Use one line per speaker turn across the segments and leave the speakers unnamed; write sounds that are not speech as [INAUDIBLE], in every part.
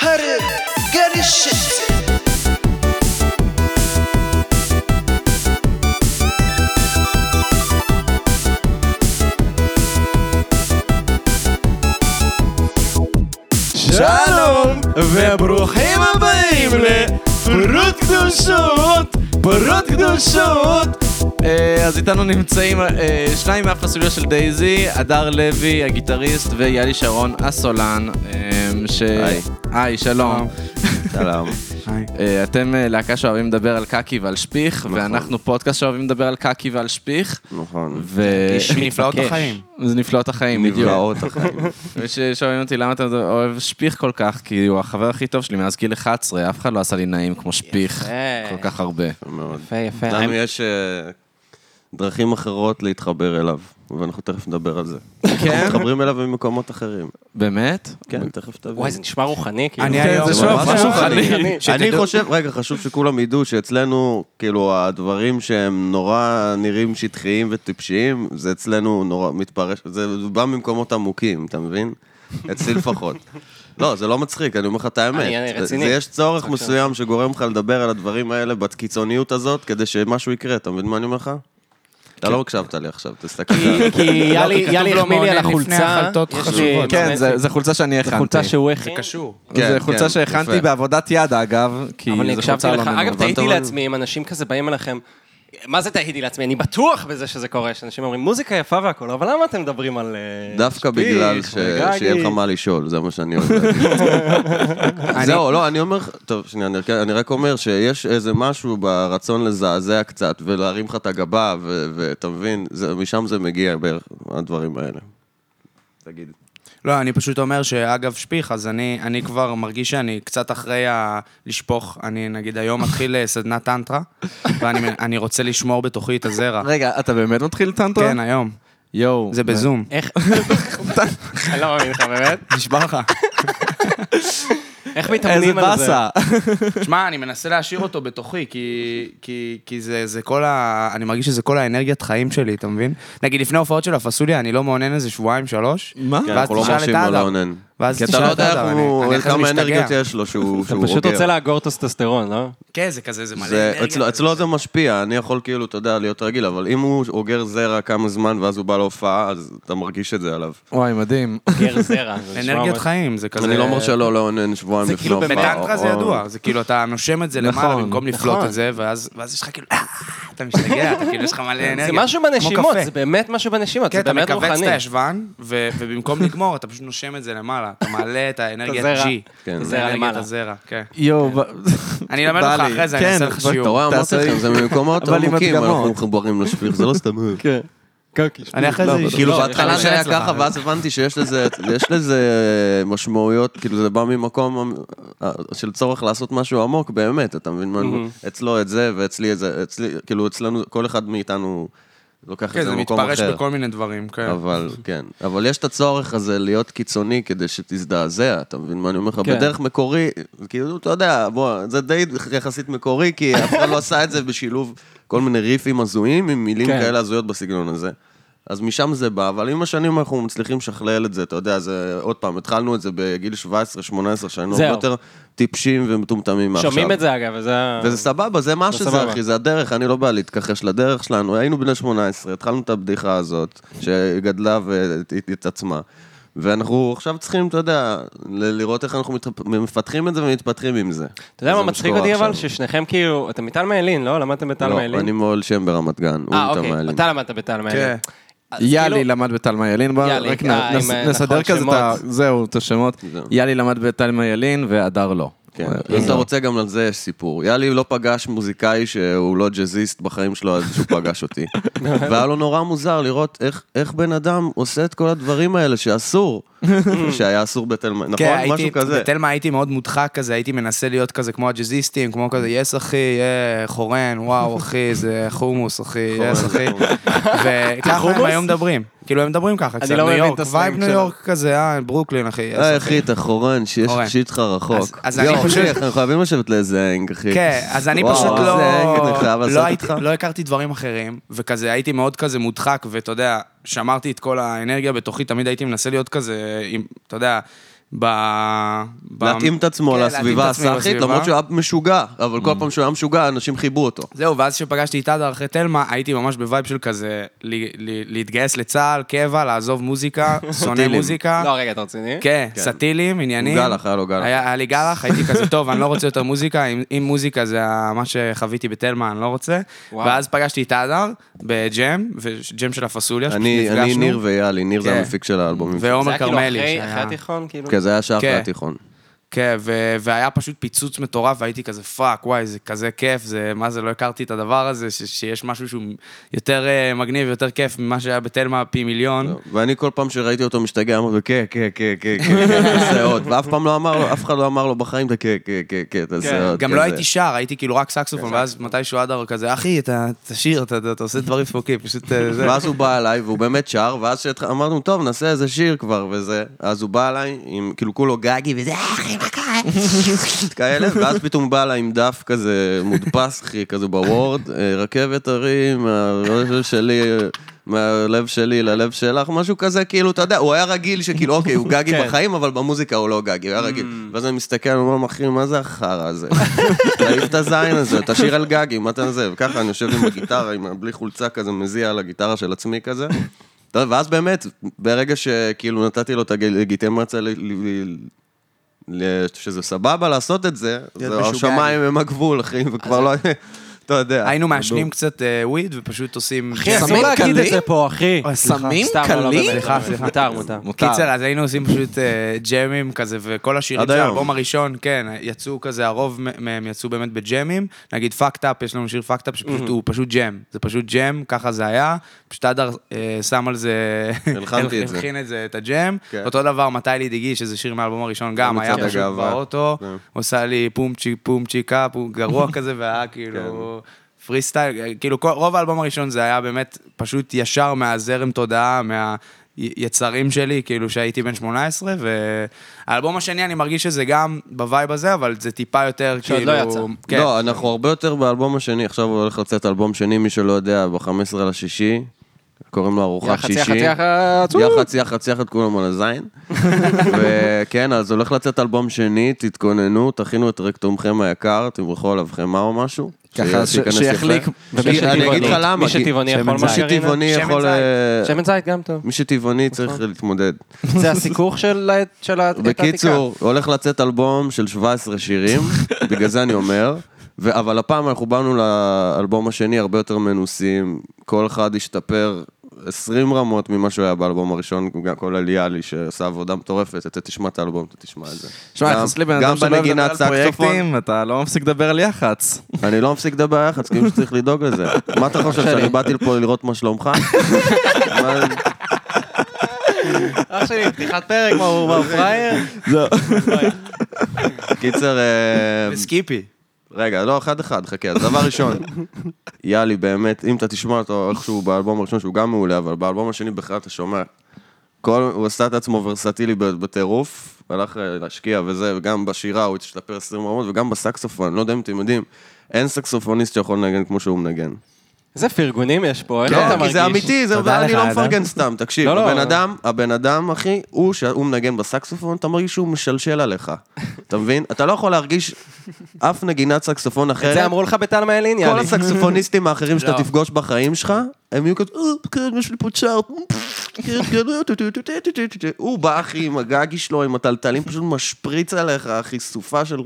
Get it, get it shit.
שלום, וברוכים הבאים לפרות קדושות, פרות קדושות. אה, אז איתנו נמצאים אה, שניים מהפסוליה של דייזי, הדר לוי הגיטריסט ויאלי שרון הסולן. אה, ש...
היי.
היי, שלום.
שלום.
אה, אתם אה, להקה שאוהבים לדבר על קקי ועל שפיך, ואנחנו פודקאסט שאוהבים לדבר על קקי ועל שפיך.
נכון.
ו-
נפלאות החיים.
זה נפלאות החיים, בדיוק.
[LAUGHS] נבלעות החיים.
וששואלים אותי למה אתה אוהב שפיך כל כך, כי הוא החבר הכי טוב שלי מאז גיל 11, אף אחד לא עשה לי נעים כמו שפיך
יפה.
כל כך הרבה.
מאוד.
יפה, יפה.
לנו יש אה, דרכים אחרות להתחבר אליו, ואנחנו תכף נדבר על זה.
כן?
אנחנו מתחברים אליו ממקומות אחרים.
באמת?
כן, תכף תבין.
וואי, זה נשמע רוחני, כאילו.
אני
כן,
היום...
זה שוב,
ממש
משהו
רוחני.
חני.
אני חושב, רגע, חשוב שכולם ידעו שאצלנו, כאילו, הדברים שהם נורא נראים שטחיים וטיפשיים, זה אצלנו נורא מתפרש, זה בא ממקומות עמוקים, אתה מבין? אצלי לפחות. לא, זה לא מצחיק, אני אומר לך את האמת.
אני- אני
זה-
רציני.
זה יש צורך מסוים שגורם לך לדבר על הדברים האלה בקיצוניות הזאת, כדי שמשהו יקרה, אתה מבין מה אני אומר לך? אתה לא הקשבת לי עכשיו, תסתכל.
כן. לא, כי לא יאלי
כי כתוב
יאלי
לו
החמיא לי על
מעונן לפני
החולצה.
החלטות
יש לי
חשובות.
כן,
מעונן.
זה- זה חולצה שאני הכנתי.
זה חולצה
אוקיי.
שהוא הכין.
קשור.
כן,
זה חולצה
כן,
שהכנתי
יפה.
בהעבודת יד, אגב, כי
אבל אני
זו חולצה
הקשבתי
לא
לך.
ממומנת.
אגב, תהיתי
אבל-
לעצמי, אם אנשים כזה באים אליכם... מה זה תהיתי לעצמי? אני בטוח בזה שזה קורה, שאנשים אומרים, מוזיקה יפה והכול, אבל למה אתם מדברים על... [LAUGHS] אה,
דווקא
שפיך,
בגלל ש-
וגגי?"
שיהיה לך מה לשאול, זה מה שאני אוהב
[LAUGHS]
להגיד. זהו, לא, אני אומר לך, טוב, שנייה, אני רק- אני רק אומר שיש איזה משהו ברצון לזעזע קצת ולהרים לך את הגבה, ו- ואתה מבין, זה- משם זה מגיע בערך, הדברים האלה. תגיד.
לא, אני פשוט אומר שאגב שפיך, אז אני, אני כבר מרגיש שאני קצת אחרי ה... לשפוך. אני נגיד היום מתחיל אה, סדנת טנטרה, ואני אני רוצה לשמור בתוכי את הזרע.
רגע, אתה באמת מתחיל טנטרה?
כן, היום.
יואו.
זה בזום.
איך... אני לא מאמין לך, באמת.
נשבע לך.
איך
איזה
מתאמנים על זה?
באסה.
[LAUGHS] שמע, אני מנסה להשאיר אותו בתוכי, כי, כי, כי זה, זה כל ה... אני מרגיש שזה כל האנרגיית חיים שלי, אתה מבין? נגיד, לפני ההופעות של הפסוליה, אני לא מאונן איזה שבועיים, שלוש.
מה?
כן, אנחנו לא
תשאל את
מרשים לו
אדם.
לאונן.
ואז
כי אתה
תשאל
לא
את
יודע
אדם,
איך
אני-
הוא-
אני אחרי זה
כמה
משתגע.
אנרגיות יש לו שהוא שהוא
אתה
בוגר.
פשוט רוצה לאגור טסטסטרון, לא?
כן, זה כזה, זה מלא
זה,
אנרגיה.
אצלו, אצלו זה משפיע, אני יכול כאילו, אתה יודע, להיות רגיל, אבל אם הוא אוגר זרע כמה זמן ואז הוא בא להופעה, אז אתה מרגיש את זה עליו.
וואי, מדהים.
גר זרע. זה נשמע
אנרגיית
ממש-
חיים, זה כזה...
אני לא אומר שלא לאונן שבועיים
זה
לפני
כאילו
הופעה.
בטנטרה זה
או-
ידוע, זה כאילו אתה נושם את זה למעלה
נכון,
במקום
לא, נכון.
לפלוט את זה, ואז ואז יש לך כאילו, "אה", אתה משתגע, אתה כאילו יש לך מלא אנרגיה.
זה משהו
כמו
בנשימות,
קפה.
זה באמת משהו בנשימות,
כן,
זה
אתה
באמת רוחני.
מכווץ את הישבן, ו- ובמקום לגמור אתה פשוט נושם את זה למעלה, אתה מעלה את האנרגיית
הזרע.
G.
כן.
את
הזרע
האנרגיית
למעלה.
הזרע, כן.
יואו. ב- [LAUGHS]
אני אלמד
בא
אותך
לי.
אחרי זה, אני
כן,
אעשה לך
אבל-
אתה
שיעור.
רואה, אמרתי
תעשה
לכם,
לי-
זה ממקומות
אבל עם
עמוקים, אנחנו
הדגמות.
מחוברים לשפיר, זה לא סתם...
[LAUGHS]
כן.
אני אחרי זה... אשאל.
כאילו,
לא,
בהתחלה
יש
זה היה
אצלך.
ככה, ואז הבנתי שיש לזה- יש לזה משמעויות, כאילו, זה בא ממקום אה, של צורך לעשות משהו עמוק, באמת, אתה מבין? מה אני אומר?
Mm-hmm.
אצלו את זה, ואצלי את זה, אצלי, כאילו, אצלנו, כל אחד מאיתנו לוקח
כן,
את זה
זה
למקום
מתפרש
אחר.
בכל מיני דברים, כן.
אוקיי.
אבל, כן. אבל יש את הצורך הזה להיות קיצוני כדי שתזדעזע, אתה מבין מה אני אומר לך?
כן.
בדרך מקורי, כאילו, אתה יודע, בוא, זה די יחסית מקורי,
[LAUGHS]
כי אף אחד לא עשה את זה בשילוב כל מיני ריפים הזויים עם מילים
כן.
כאלה הזויות בסגנון הזה. אז משם זה בא, אבל עם השנים אנחנו מצליחים לשכלל את זה, אתה יודע, זה, עוד פעם, התחלנו את זה בגיל 17-18, שהיינו הרבה
זהו.
יותר טיפשים ומטומטמים מעכשיו.
שומעים את זה אגב, וזה...
וזה סבבה, זה מה
זה
שזה,
סבבה.
אחי, זה הדרך, אני לא בא להתכחש לדרך שלנו. היינו בני 18, התחלנו את הבדיחה הזאת, שגדלה והתעצמה. ואנחנו עכשיו צריכים, אתה יודע, ל- לראות איך אנחנו מתפ- מפתחים את זה ומתפתחים עם זה.
אתה יודע
זה
מה מצחיק
שקורה
אותי אבל?
עכשיו.
ששניכם כאילו, אתם מטל מאלין, לא? למדתם בטל מאלין?
לא, אני מאוהל שם ברמת גן, הוא
אה,
מטעם
אוקיי,
מעלים.
אתה למדת בטל מאלין.
כן.
אז
יאלי
כאילו-
למד בתלמה ילין, בוא
יאלי,
רק נ-
אה,
נס-
עם, אה,
נסדר
נכון,
כזה את ה...
שמות.
זהו, את השמות.
זהו.
יאלי למד בתלמה ילין והדר לא.
כן,
אה,
אם אתה רוצה, גם על זה יש סיפור. יאלי לא פגש מוזיקאי שהוא לא ג'אזיסט בחיים שלו עד שהוא פגש
[LAUGHS]
אותי. והיה לו נורא מוזר לראות איך- איך בן אדם עושה את כל הדברים האלה
[LAUGHS]
שאסור, שהיה אסור בתל נכון?
כן, הייתי,
משהו כזה.
בתלמה הייתי מאוד מודחק כזה, הייתי מנסה להיות כזה כמו הג'אזיסטים, כמו כזה, יס אחי, אה, חורן, וואו אחי, זה חומוס אחי, יס אחי. [LAUGHS] וככה הם היו מדברים, כאילו הם מדברים ככה, קצת
לא
ניו
מבין את
יורק,
הסלנג
וייב ניו
שלו.
יורק כזה, אה, ברוקלין אחי,
[LAUGHS]
יס
היי
אחי.
אחי, אתה חורן, שיש
חורן.
שיט שלך
אז-
רחוק.
אז אני
יואו,
פשוט-
אחי, אנחנו חייבים לשבת לאיזה אנג, אחי.
כן, אז אני
וואו,
פשוט
איזה אנג, אני
לא...
חייב
לא
לעשות
הייתי-
איתך.
לא הכרתי דברים אחרים, וכזה הייתי מאוד כזה מודחק, ואתה יודע, שמרתי את כל האנרגיה בתוכי, תמיד הייתי מנסה להיות כזה, עם- אתה יודע, ב... ב-
להתאים את עצמו
כן, להתאים
לסביבה
את עצמי
הסאחית,
לסביבה. Mm.
למרות שהוא היה משוגע, אבל כל פעם שהוא היה משוגע, אנשים חיברו אותו.
זהו, ואז כשפגשתי את אדר אחרי תלמה, הייתי ממש בווייב של כזה, ל- ל- להתגייס לצה"ל, קבע, לעזוב מוזיקה, שונא
סטילים.
מוזיקה.
לא, רגע, אתה רציני?
כן, סטילים, עניינים.
גלח, היה לו גלח.
היה היה לי גלח, הייתי כזה, טוב, אני לא רוצה יותר מוזיקה, אם- אם מוזיקה זה ה- מה שחוויתי בתלמה, אני לא רוצה.
וואו.
ואז פגשתי את אדר בג'ם, וג'ם של הפסוליה,
אני, אני ניר ויאלי, ניר זה
כן.
המפיק של האלבומים.
זה
ועומר
היה כאילו
כרמלי.
אחרי-
שהיה-
אחרי התיכון, כאילו?
כן, זה היה שעה אחרי
כן.
התיכון.
כן, ו- והיה פשוט פיצוץ מטורף, והייתי כזה פאק, וואי, זה כזה כיף, זה, מה זה, לא הכרתי את הדבר הזה, ש- שיש משהו שהוא יותר אה, מגניב, יותר כיף ממה שהיה בתלמה פי מיליון.
ואני כל פעם שראיתי אותו משתגע, אמרתי לו, כן, כן, כן, כן, כן,
[LAUGHS]
כן, תעשה עוד. ואף פעם לא אמר לו, אף אחד לא אמר לו בחיים, אתה כן, כן, כן, כן,
כן.
תעשה עוד.
גם
כזה.
לא הייתי שר, הייתי כאילו רק סקסופון, ואז מתישהו אדר כזה, אחי, אתה תשיר, אתה- אתה אתה עושה דברים פוקים, פשוט אה, זה.
ואז הוא בא אליי, והוא באמת שר, ואז שהתח- אמרנו, טוב, נעשה איזה שיר כבר, וזה. אז הוא בא אליי, עם, כאילו כולו גגי, וזה, "אה, אחי, מה קרה? כאלה, ואז פתאום הוא בא אליי עם דף כזה מודפס, אחי, כזה בוורד, אה, רכבת הרים, מהלב שלי... מהלב שלי ללב שלך, משהו כזה, כאילו, אתה יודע, הוא היה רגיל שכאילו, אוקיי, הוא גגי בחיים, אבל במוזיקה הוא לא גגי, הוא היה רגיל. ואז אני מסתכל, אני אומר, אחי, מה זה החרא הזה? תעיף את הזין הזה, תשאיר על גגי, מה אתה זה? וככה אני יושב עם הגיטרה, עם ה- בלי חולצה כזה, מזיע על הגיטרה של עצמי כזה. אתה יודע, ואז באמת, ברגע שכאילו נתתי לו את הגיטמציה ל- שזה סבבה לעשות את זה, זה
משוגע.
השמיים הם הגבול, אחי, וכבר לא... אתה יודע.
היינו מעשנים קצת אה, וויד ופשוט עושים...
אחי, כן, אסור
סמים
להגיד את
קלים?
זה פה, אחי.
אוי, סליחה.
סמים
סתם, לא, לא,
קלים?
באמת,
סליחה,
באמת.
סליחה.
מותר, מותר.
מותר.
קיצר, אז היינו עושים פשוט אה, ג'מים כזה, וכל השירים
עד
של
היום.
האלבום הראשון, כן, יצאו כזה, הרוב מ- מהם יצאו באמת בג'מים. נגיד פאקט אפ, יש לנו שיר פאקט אפ, שפשוט
Mhm.
הוא פשוט ג'ם. זה פשוט ג'ם, ככה זה היה. פשוט אדר אה, שם על זה...
הלחנתי את זה.
הלחין את זה, את הג'ם.
כן. לא
אותו דבר, מתי לידיגי, שזה שיר מהאלבום הראשון, גם
מצעד
היה פשוט
הגאווה.
באוטו,
כן.
עושה לי פומצ'י, פומצ'יקה, פום-
[LAUGHS]
גרוע כזה, והיה כאילו...
כן.
פרי סטייל, כאילו כל, רוב האלבום הראשון זה היה באמת פשוט ישר מהזרם תודעה, מהיצרים שלי, כאילו שהייתי בן 18, והאלבום השני אני מרגיש שזה גם בווייב הזה, אבל זה טיפה יותר
שעוד
כאילו...
לא יצא.
כן.
לא, אנחנו הרבה יותר באלבום השני, עכשיו הולך לצאת אלבום שני, מי שלא יודע, ב-15 לשישי, קוראים לו ארוחת
יח"צ,
שישי.
יח"צ, יח"צ, וואו.
יח"צ, יח"צ, יח"צ, כולם על הזין. וכן, אז הולך לצאת אלבום שני, תתכוננו, תכינו את רקטומכם היקר, תמרחו עליו חמאה או משהו.
ככה
ש- שייכנס
שיחליק.
יפה.
ומי
כי-
שטבעוני-
אני אגיד לך למה.
מי
כי-
שטבעוני יכול
מי
מרגרינה?
שטבעוני
שמן
יכול...
זית.
אה,
שמן זית גם טוב.
מי שטבעוני צריך להתמודד. [LAUGHS]
זה הסיכוך של ה- של ה-
בקיצור, הולך לצאת אלבום של
[LAUGHS]
17 שירים, בגלל זה אני אומר. ו- אבל הפעם אנחנו באנו לאלבום השני הרבה יותר מנוסים, כל אחד השתפר 20 רמות ממה שהוא היה באלבום הראשון, גם כל אליאלי שעשה עבודה מטורפת, אתה תשמע את האלבום, אתה תשמע את זה.
שמע,
גם-
יחס לי בן
גם
אדם שלא אוהב לדבר
בנגינת
על
סקסופון.
פרויקטים, אתה לא מפסיק לדבר על יח"צ.
אני לא מפסיק לדבר עליך, אז כאילו שצריך
[LAUGHS]
לדאוג לזה. מה אתה חושב, שאני באתי לפה לראות מה שלומך? מה-
אח שלי, פתיחת פרק, מה הוא מה, פראייר?
[LAUGHS] קיצר... אה,
וסקיפי.
רגע, לא, אחד-אחד, חכה. אז דבר ראשון, יאלי, באמת, אם אתה תשמע אותו איכשהו באלבום הראשון, שהוא גם מעולה, אבל באלבום השני בכלל אתה שומע. כל, הוא עשה את עצמו ורסטילי ב- בטירוף, הלך אה, להשקיע וזה, וגם בשירה הוא השתפר 20 רמות, וגם בסקסופון, לא יודע אם אתם יודעים, אין סקסופוניסט שיכול לנגן כמו שהוא מנגן.
איזה פרגונים יש פה, איך אתה
לא,
מרגיש?
כי זה אמיתי, זה,
תודה
אני
לך,
לא
אדם.
מפרגן סתם, תקשיב,
לא, לא.
הבן אדם, הבן אדם, אחי, הוא שהוא מנגן בסקסופון, אתה מרגיש שהוא משלשל עליך, אתה מבין? אתה לא יכול להרגיש אף נגינת סקסופון אחרת.
את זה אמרו לך בתלמה אלין,
כל
יאללה.
הסקסופוניסטים האחרים שאתה
לא.
תפגוש בחיים שלך, הם יהיו כזה, "אה, כן, יש לי פה צ'ארט. כן, כן, אה, טו, טו, טו, טו, טו, טו, טו." הוא בא, אחי, עם הגגי שלו, עם הטלטלים, פשוט משפריץ עליך, אחי, סופה של-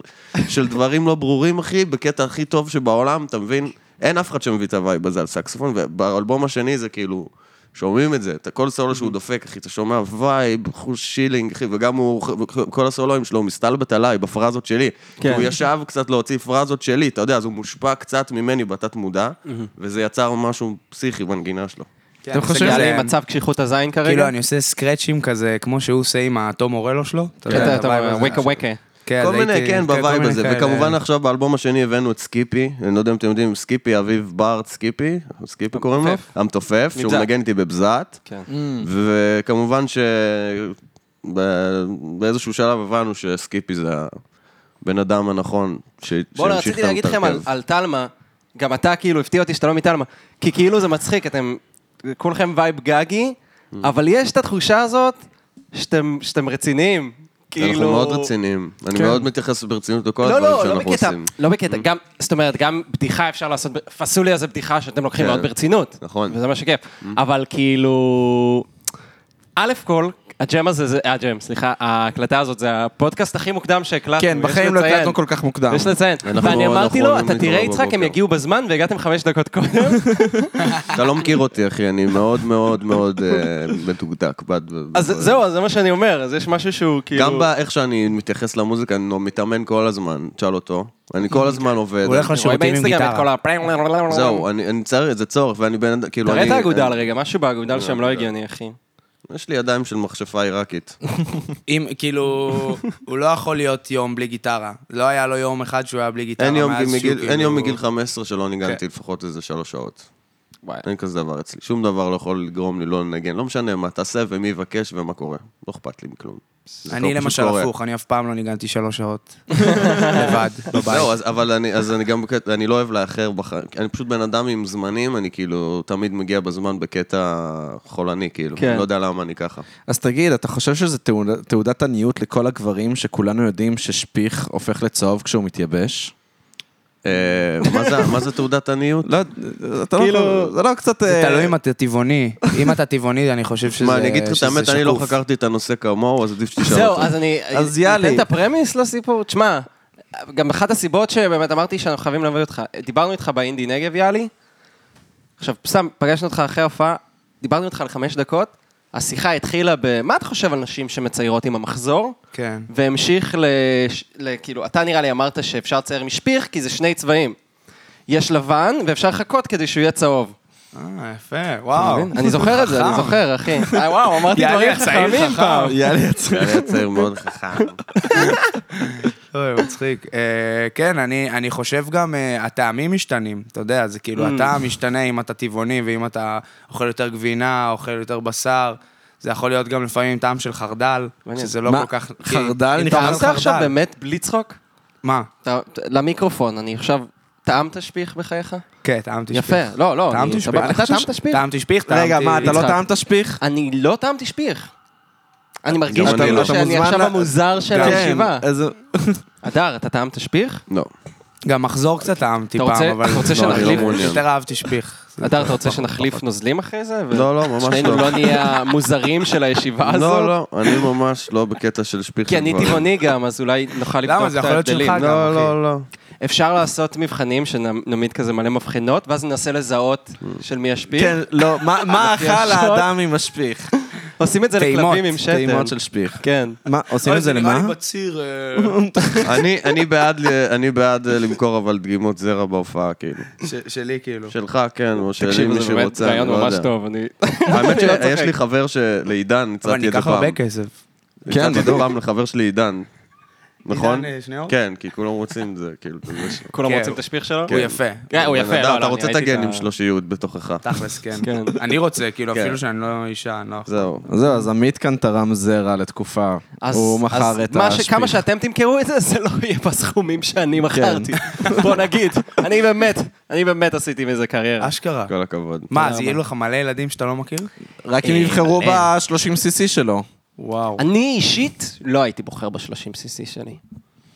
של דברים לא ברורים, אחי, בקטע הכי טוב שבעולם, אתה מבין? אין אף אחד שמביא את הווייב הזה על סקסופון, ובאלבום השני זה כאילו... שומעים את זה, את כל סולו שהוא דופק, אחי, אתה שומע וייב, חוש שילינג, אחי, וגם הוא, כל הסולואים שלו, הוא מסתלבט עליי בפרזות שלי.
כן.
הוא ישב קצת להוציא פרזות שלי, אתה יודע, אז הוא מושפע קצת ממני בתת מודע, וזה יצר משהו פסיכי בנגינה שלו.
כן,
אתם
חושב שזה מצב קשיחות הזין כרגע?
כן, כאילו, אני עושה סקרצ'ים כזה, כמו שהוא עושה עם התום אורלו שלו. אתה יודע,
כן, אתה-
את הווייב
אתה
הזה.
ווקה ווקה.
כן, אז
כל מיני,
הייתי-
כן, בווייב
מיני
הזה.
כאלה.
וכמובן עכשיו באלבום השני הבאנו את סקיפי, אני לא יודע אם אתם יודעים, סקיפי, אביב בארט סקיפי, סקיפי קוראים לו,
המתופף.
המתופף, שהוא
מבזעת.
מנגן איתי בבזעת.
כן.
וכמובן ש... ב- באיזשהו שלב הבנו שסקיפי זה הבן אדם הנכון שהמשיך את
בואנה, רציתי להגיד לכם על-
ההרכב.
על תלמה, גם אתה כאילו הפתיע אותי שאתה לא מתלמה, כי כאילו זה מצחיק, אתם
Mm.
כולכם וייב גגי, אבל יש את התחושה הזאת שאתם שאתם רציניים. כאילו... כן.
אנחנו מאוד רציניים. אני מאוד מתייחס ברצינות לכל
לא,
הדברים
לא, לא
שאנחנו
בקטע,
עושים. Mm.
לא בקטע, גם, זאת אומרת, גם בדיחה אפשר לעשות, ב- פסוליה זה בדיחה שאתם לוקחים
כן.
מאוד ברצינות.
נכון.
וזה מה שכיף. אבל כאילו, א' כל, הג'ם הזה, זה, הג'ם, סליחה, ההקלטה הזאת זה הפודקאסט הכי מוקדם שהקלטנו.
כן,
יש
בחיים לא
לציין.
הקלטנו כל כך מוקדם.
יש לציין.
אנחנו- לא-
ואני אמרתי
אנחנו
לו, אתה
נתעורר
תראה יצחק, הם
בבוקר."
יגיעו בזמן והגעתם חמש דקות
[LAUGHS]
קודם.
אתה לא מכיר אותי, אחי, אני מאוד מאוד מאוד אה, מדוקדק. בד-
אז
בדברים.
זהו, אז זה מה שאני אומר, אז יש משהו שהוא כאילו...
גם באיך שאני מתייחס למוזיקה, אני לא מתאמן כל הזמן, תשאל אותו. אני כל הזמן עובד.
הוא הולך
אני רואה
לשירותים עם
באינסטגרם את כל
גיטרה.
ה...
זהו, אני אני צריך, זה צורך, ואני בן אדם, כאילו,
תראה
אני...
את האגודל
אני-
רגע, משהו באגודל שם
אה,
לא הגיוני, אחי.
יש לי ידיים של מכשפה עיראקית.
אם, כאילו, הוא לא יכול להיות יום בלי גיטרה. לא היה לו יום אחד שהוא היה בלי גיטרה.
אין יום
מאז
מגיל-
שהוא,
אין יום
כאילו-
מגיל 15 שלא ניגנתי לפחות איזה שלוש שעות.
וואי.
אין כזה דבר אצלי. שום דבר לא יכול לגרום לי לא לנגן. לא משנה מה תעשה ומי יבקש ומה קורה. לא אכפת לי מכלום. זה
אני
פשוט
למשל
קורה.
הפוך, אני אף פעם לא ניגנתי
[LAUGHS]
שלוש שעות. לבד, בבית.
זהו, לא, אז- אבל אני, אז אני גם, בקטע- אני לא אוהב לאחר בחיים, אני פשוט בן אדם עם זמנים, אני כאילו תמיד מגיע בזמן בקטע חולני, כאילו,
כן.
אני לא יודע למה אני ככה.
אז תגיד, אתה חושב שזה תעודה- תעודת עניות לכל הגברים שכולנו יודעים ששפיך הופך לצהוב כשהוא מתייבש?
אה, מה זה- מה זה תעודת עניות?
לא, אתה לא... זה לא קצת...
זה אה, תלוי אם אתה טבעוני. אם אתה טבעוני, אני חושב שזה
מה, אני אגיד לך את
שזה
האמת, אני לא
שקוף.
חקרתי את הנושא כמוהו, אז עדיף שתשאל
זהו,
אותו.
אז אני...
אז יאללה.
ניתן את הפרמיס לסיפור. תשמע, גם אחת הסיבות שבאמת אמרתי שאנחנו חייבים להביא אותך, דיברנו איתך באינדי נגב, יאלי. עכשיו, סתם, פגשנו אותך אחרי ההופעה, דיברנו איתך על חמש דקות, השיחה התחילה ב... מה אתה חושב על נשים שמציירות עם המחזור?
כן.
והמשיך ל... ל... כאילו, אתה נראה לי אמרת שאפשר לצייר משפיך, כי זה שני צבעים. יש לבן, ואפשר לחכות כדי שהוא יהיה צהוב.
אה, יפה, וואו.
אני זוכר את זה, אני
חכם.
זוכר, אחי. אוקיי. [LAUGHS] אה, וואו, אמרתי
יאללה,
דברים
צעיר
חכמים
חכם.
פעם.
יאללה, יצא.
אני צעיר מאוד חכם.
אוי, מצחיק. אה, כן, אני אני חושב גם, אה, הטעמים משתנים, אתה יודע, זה כאילו, הטעם משתנה אם אתה טבעוני ואם אתה אוכל יותר גבינה, אוכל יותר בשר. זה יכול להיות גם לפעמים טעם של חרדל,
מעניין.
שזה לא
מה,
כל כך...
חרדל?
אם אתה אוכל
טעמת עכשיו
חרדל.
באמת בלי צחוק?
מה?
אתה- למיקרופון, אני עכשיו... טעמת שפיך בחייך?
כן, טעמתי שפיך.
יפה, לא, לא. אני-
טעמתי שפיך.
סבבה, אתה
אני חושב
טעמת
ש-
שפיך?
טעמתי שפיך, טעמתי...
רגע, מה, אתה לא
יצחק.
טעמת שפיך?
אני לא טעמתי שפיך. אני מרגיש
אני
כאילו
לא.
שאני
אתה מוזמן
עכשיו
ל-
המוזר של הישיבה.
כן. אז...
אדר, אתה טעמת שפיך?
לא.
גם מחזור קצת טעמתי
אתה
פעם,
רוצה-
אבל...
אתה רוצה
לא, אני
שנחליף?
לא מעוניין. יותר אהבתי שפיך.
אדר, אתה רוצה שנחליף נוזלים אחרי זה? ו-
לא, לא, ממש
שנינו
לא.
לא נהיה המוזרים של הישיבה הזאת?
לא, לא, אני ממש לא בקטע של שפיך.
כי
של
אני
גברים.
טבעוני גם, אז אולי נוכל
למה?
לבדוק
זה
את
יכול להיות
ההבדלים.
שלך גם.
לא,
אחי.
לא, לא.
אפשר לעשות מבחנים שנעמיד כזה מלא מבחנות, ואז ננסה לזהות של מי ישפיע.
כן, לא, מה- מה אכל
השעות.
האדם עם השפיך?
עושים את זה
טעימות,
לכלבים עם שתן.
טעימות של שפיך.
כן.
מה, עושים את זה למה?
בציר... אה,
אני- אני בעד ל- אני בעד אה, למכור אבל דגימות זרע בהופעה, כאילו.
שלי, כאילו.
שלך, כן, או שלי
תקשיב,
מי
זה באמת
שרוצה, אני
רעיון
לא
ממש
יודע.
טוב, אני...
האמת
[LAUGHS] אני לא
שיש
צוחק.
לי חבר שלעידן,
אבל
הצעתי את זה
ניקח
פעם.
הרבה כסף.
כן,
כן, הצעתי את זה
בדיוק.
פעם לחבר שלי עידן. נכון?
עידן, אה, שניאור?
כן, כי כולם רוצים את זה,
[LAUGHS]
כאילו. אתה יודע ש-
כולם
כן.
רוצים את השפיך שלו?
הוא יפה.
כן, הוא
בן
יפה,
אדם,
לא, לא,
אתה
אני
רוצה את
ראיתי
הגנים
ה-
שלו שיהיו בתוכך.
תכלס, כן.
כן.
אני רוצה, כאילו,
כן.
אפילו שאני לא אישה, אני לא יכול.
זהו.
אז זהו, אז עמית כאן תרם זרע לתקופה.
אז-
הוא
אז
מכר את
מה ש-
השפיך.
כמה שאתם תמכרו את זה, זה לא יהיה בסכומים שאני מכרתי. בוא נגיד, אני באמת, אני באמת עשיתי מזה קריירה.
אשכרה.
כל הכבוד.
מה, אז יהיו לך מלא ילדים שאתה לא מכיר?
רק אם
אה,
יבחרו
אה.
ב-30cc שלו.
וואו.
אני אישית לא הייתי בוחר ב-30cc שלי.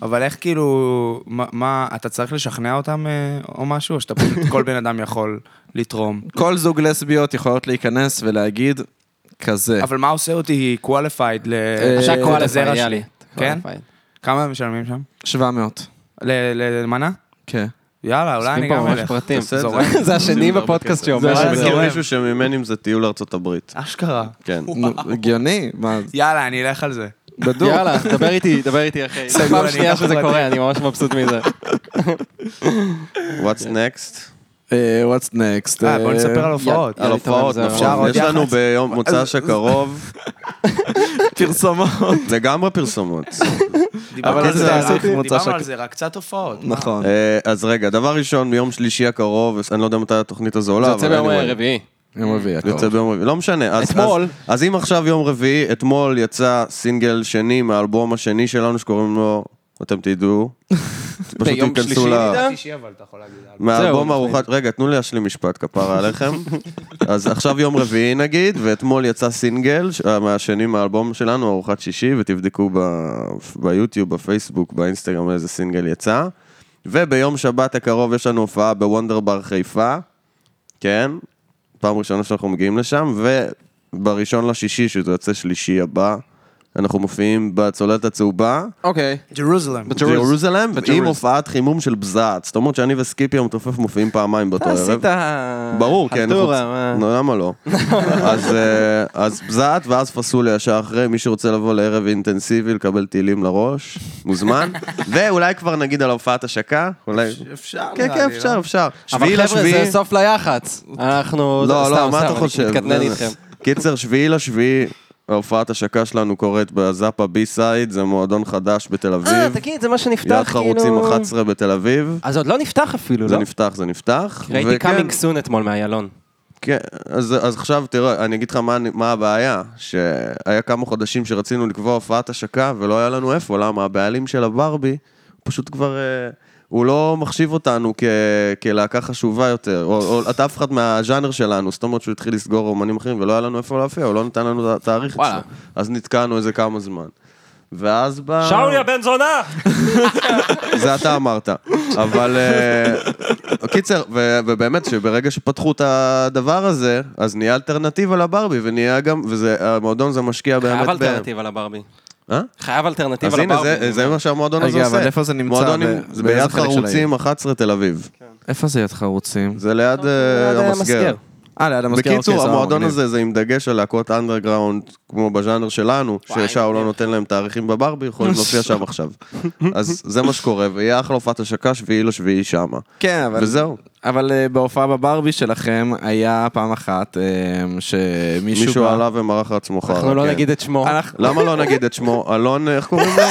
אבל איך כאילו, מה- מה, אתה צריך לשכנע אותם אה, או משהו? או שאתה פשוט, כל בן אדם יכול לתרום?
כל זוג לסביות יכולות להיכנס ולהגיד, כזה.
אבל מה עושה אותי qualified ל...
אה, עכשיו
את
קורא לזה
הזרע
היה
שלי?
לי.
כן?
qualified.
כמה הם משלמים שם?
700.
ל- ל- למנה?
כן.
יאללה, אולי אני
עושים פה
גם
ממש
אלך.
פרטים.
תעשה את זה.
זורק.
זה השני
הרבה
בפודקאסט
כסף.
שאומר
זה
את
אני
זה. לא
מכיר מישהו שממני אם זה טיול לארצות הברית.
אשכרה.
[LAUGHS]
כן.
נו, הגיוני, מה,
יאללה, אני אלך על זה.
בדוק.
יאללה, דבר איתי, דבר איתי אחי.
סגור,
זו פעם
אני
שנייה
אקח
שזה
פרטים.
קורה, אני ממש מבסוט מזה.
What's next?
אה, what's next?
אה, בוא נספר על הופעות.
יאללה,
על הופעות,
תראה, זה
אפשר
נכון.
עוד
יש לנו
יחד?
ביום
[LAUGHS]
מוצ"ש הקרוב
פרסומות.
לגמרי
[LAUGHS]
פרסומות.
דיברנו
אבל
על
זה
זה,
עשיתי
רק-
מוצא שק-
דיברנו על זה, רק קצת הופעות.
נכון.
אה, אז רגע, דבר ראשון, ביום שלישי הקרוב, אני לא יודע מתי התוכנית הזו עולה,
זה
אבל...
יוצא ביום
anyway.
רביעי.
יום רביעי
זה יוצא
הקרוב.
ביום רביעי, לא משנה. אז-
אתמול.
אז- אז אם עכשיו יום רביעי, אתמול יצא סינגל שני מהאלבום השני שלנו שקוראים לו אתם תדעו,
[LAUGHS]
פשוט
ביום
תיכנסו
שלישי,
ל...
נדע?
מהאלבום
זהו,
ארוחת... רגע, תנו לי להשלים משפט כפרה עליכם. אז עכשיו יום רביעי נגיד, ואתמול יצא סינגל ש- אה, מהשני מהאלבום שלנו, ארוחת שישי, ותבדקו ב- ביוטיוב, בפייסבוק, באינסטגרם איזה סינגל יצא. וביום שבת הקרוב יש לנו הופעה בוונדר בר חיפה, כן? פעם ראשונה שאנחנו מגיעים לשם, ובראשון לשישי, שזה יוצא שלישי הבא, אנחנו מופיעים בצוללת הצהובה.
אוקיי.
ג'רוזלם.
ג'רוזלם, עם
בג'רוזלם.
הופעת חימום של בזעת. זאת אומרת שאני וסקיפי המתופף מופיעים פעמיים באותו
אתה
ערב.
עשית...
ברור, כן. אנחנו
חלטורה,
צ-
מה?
נו,
[LAUGHS]
למה לא? אז, אה, אז בזעת ואז פסוליה ישר אחרי, מי שרוצה לבוא לערב אינטנסיבי, לקבל טילים לראש,
[LAUGHS]
מוזמן. ואולי כבר נגיד על הופעת השקה, אולי...
לא
אפשר,
כן, כן, אפשר, אפשר.
אבל
שביעי
חבר'ה,
לשביעי...
זה סוף ליח"צ. אנחנו...
לא,
סתם,
לא,
סתם,
מה אתה
אני
חושב?
מתקטנן
זה-
איתכם.
קיצר, שביעי לשביעי, הופעת השקה שלנו קורית בזאפה בי סייד, זה מועדון חדש בתל
אה,
אביב.
תגיד, זה מה שנפתח, כאילו...
יד חרוצים 11 בתל אביב.
אז עוד לא נפתח אפילו,
זה
לא?
נפתח, זה נפתח.
ראיתי
וכן,
קאמינג סון אתמול מאיילון.
כן, אז, אז עכשיו תראה, אני אגיד לך מה, אני- מה הבעיה, שהיה כמה חודשים שרצינו לקבוע הופעת השקה ולא היה לנו איפה, למה? הבעלים של הברבי, הוא פשוט כבר, אה, הוא לא מחשיב אותנו כ, כלהקה חשובה יותר, או, או אתה אף אחד מהז'אנר שלנו, זאת אומרת שהוא התחיל לסגור אומנים אחרים ולא היה לנו איפה להופיע, הוא לא נתן לנו את התאריך
וואלה.
אצלו, אז נתקענו איזה כמה זמן. ואז ב...
הבן זונה!
זה אתה אמרת. אבל אה, קיצר, ו- ובאמת שברגע שפתחו את הדבר הזה, אז נהיה אלטרנטיבה לברבי, ונהיה גם, והמועדון הזה משקיע באמת...
חייב
ב-
אלטרנטיבה לברבי.
אה?
חייב אלטרנטיבה
אז
לברבי.
הנה, זה- זה מה שהמועדון הזה
רגע,
עושה.
אבל איפה זה נמצא?
מועדון
ב-
עם-
באיזה
ביד
חלק של
חרוצים, 11 תל אביב.
כן.
איפה זה יד חרוצים?
זה ליד אה,
ליד
המסגר.
המסגר.
אה, ליד המזכיר.
בקיצור, המועדון הזה זה עם דגש על להקות אנדרגראונד, כמו בז'אנר שלנו,
וואי,
ששאול לא נותן להם תאריכים בברבי, יכולים להופיע
[LAUGHS]
שם עכשיו. אז זה מה שקורה, ויהיה אחלה הופעת השקה, שביעי לשביעי שמה.
כן, אבל...
וזהו.
אבל אה, בהופעה בברבי שלכם היה פעם אחת אה, שמישהו...
מישהו
בא-
עלה ומרח לעצמו חרא.
אנחנו לא
כן.
נגיד את שמו.
אנחנו-
למה לא נגיד את שמו? אלון, איך קוראים לו?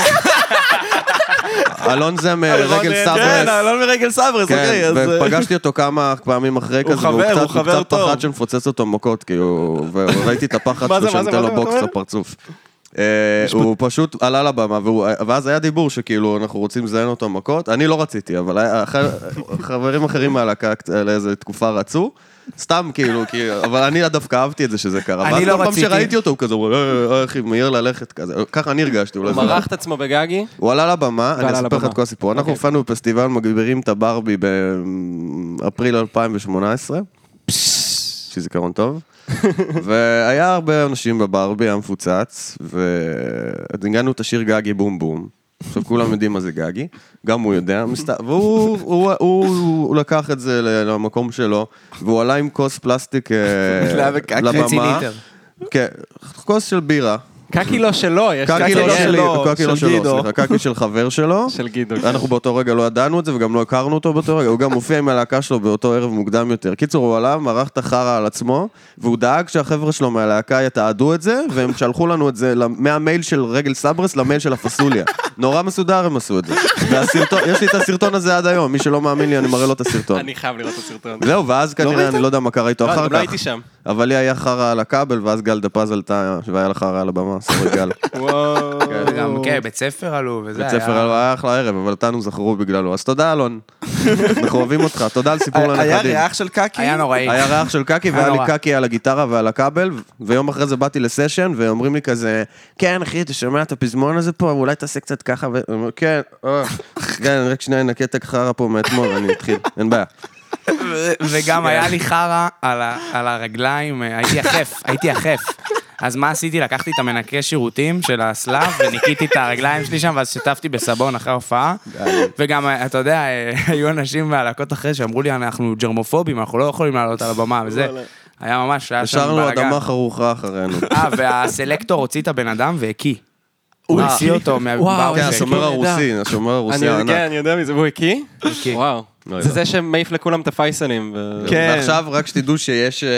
אלון זה מרגל
כן,
סברס.
אלון מרגל סברס, אוקיי,
כן,
אז... אה,
ופגשתי אותו כמה פעמים אחרי
הוא
כזה, והוא
חבר,
קצת-
הוא חבר
הוא קצת
טוב.
פחד שמפוצץ אותו מכות, כאילו, וראיתי את הפחד
[LAUGHS] מה זה,
שלו
מה זה,
שנותן
מה זה,
לו בוקס
מה זה?
לפרצוף. אה, הוא פשוט עלה לבמה, והוא- ואז היה דיבור שכאילו אנחנו רוצים לזיין אותו מכות, אני לא רציתי, אבל היה- אח- חברים אחרים מהלהקה קצת- לאיזה תקופה רצו, סתם כאילו, כי- אבל אני דווקא אהבתי את זה שזה קרה.
אני
ואז
לא
כל פעם
רציתי.
שראיתי אותו, הוא כזה, "אה, אה, אה, אחי, מהיר ללכת כזה, ככה אני הרגשתי, אולי
הוא
לא, זה
מרח את עצמו בגגי.
הוא עלה לבמה, אני
עלה
אספר לך
לבמה.
את כל הסיפור. אנחנו הופענו בפסטיבל מגבירים את הברבי באפריל 2018. יש לי זיכרון טוב. והיה הרבה אנשים בברבי, היה מפוצץ, וניגענו את השיר גגי בום בום. עכשיו כולם יודעים מה זה גגי, גם הוא יודע, מסת- והוא הוא- הוא- הוא לקח את זה ל- למקום שלו, והוא עלה עם כוס פלסטיק אה,
לא? חצי
לבמה.
ליטר.
כן, כוס של בירה.
קקי לא שלו, יש
קקי לא שלי, קקי לא
של
שלו,
גידו.
סליחה, קקי של חבר שלו.
של גידו.
אנחנו באותו רגע לא ידענו את זה וגם לא הכרנו אותו באותו רגע, הוא גם הופיע עם הלהקה שלו באותו ערב מוקדם יותר. קיצור, הוא עלה, מרח את החרא על עצמו, והוא דאג שהחבר'ה שלו מהלהקה יתעדו את זה, והם שלחו לנו את זה למ- מהמייל של רגל סברס למייל של הפסוליה. נורא מסודר הם עשו את זה. והסרטון, יש לי את הסרטון הזה עד היום, מי שלא מאמין לי, אני מראה לו את הסרטון.
אני חייב לראות את הסרטון.
זהו, ואז כנראה, אני לא יודע מה קרה איתו
לא,
אחר
אני
כך.
גם לא הייתי שם.
אבל לי היה חרא על הכבל, ואז גל דה פאז עלתה, והיה לה חרא על הבמה, סורי גל.
וואו.
גם, כן, בית ספר עלו, וזה
בית
היה...
ספר אלון היה אחלה ערב, אבל אותנו זכרו בגללו. אז תודה, אלון. אנחנו אוהבים אותך, תודה על סיפור
היה
לנכדים.
ריח של קקי?
היה נוראי.
היה ריח של קקי, והיה
היה
לי
נורא.
קקי על הגיטרה ועל הכבל, ויום אחרי זה באתי לסשן, ואומרים לי כזה, כן, אחי, אתה שומע את הפזמון הזה פה, אולי תעשה קצת ככה, ואני אומר, כן, אה, כן, רק שנייה, נקה את החרא פה מאתמול, אני אתחיל, אין בעיה.
וגם
כן.
היה לי חרא על ה- על הרגליים, אה, הייתי יחף, הייתי יחף. אז מה עשיתי? לקחתי את המנקה שירותים של הסלאב וניקיתי את הרגליים שלי שם, ואז שטפתי בסבון אחרי ההופעה. וגם, אה, אתה יודע, אה, [LAUGHS] היו אנשים מהלהקות אחרי שאמרו לי, אנחנו ג'רמופובים, אנחנו לא יכולים לעלות על הבמה וזה. היה ממש, היה שם
לא, השארנו
בלאגן.
אדמה חרוכה אחרינו.
אה, והסלקטור הוציא את הבן אדם והקיא. הוא
הקיא?
הוציא אותו
וואו,
מהבר
כן,
איזה
של-
השומר
נהדר.
הרוסי, השומר הרוסי
אני- כן,
הענק.
אני יודע מי זה. הוא הקיא?
הקיא.
וואו.
לא
זה
יודע.
זה שמעיף לכולם את הפייסלים. ו-
כן.
ועכשיו רק שתדעו שיש אה,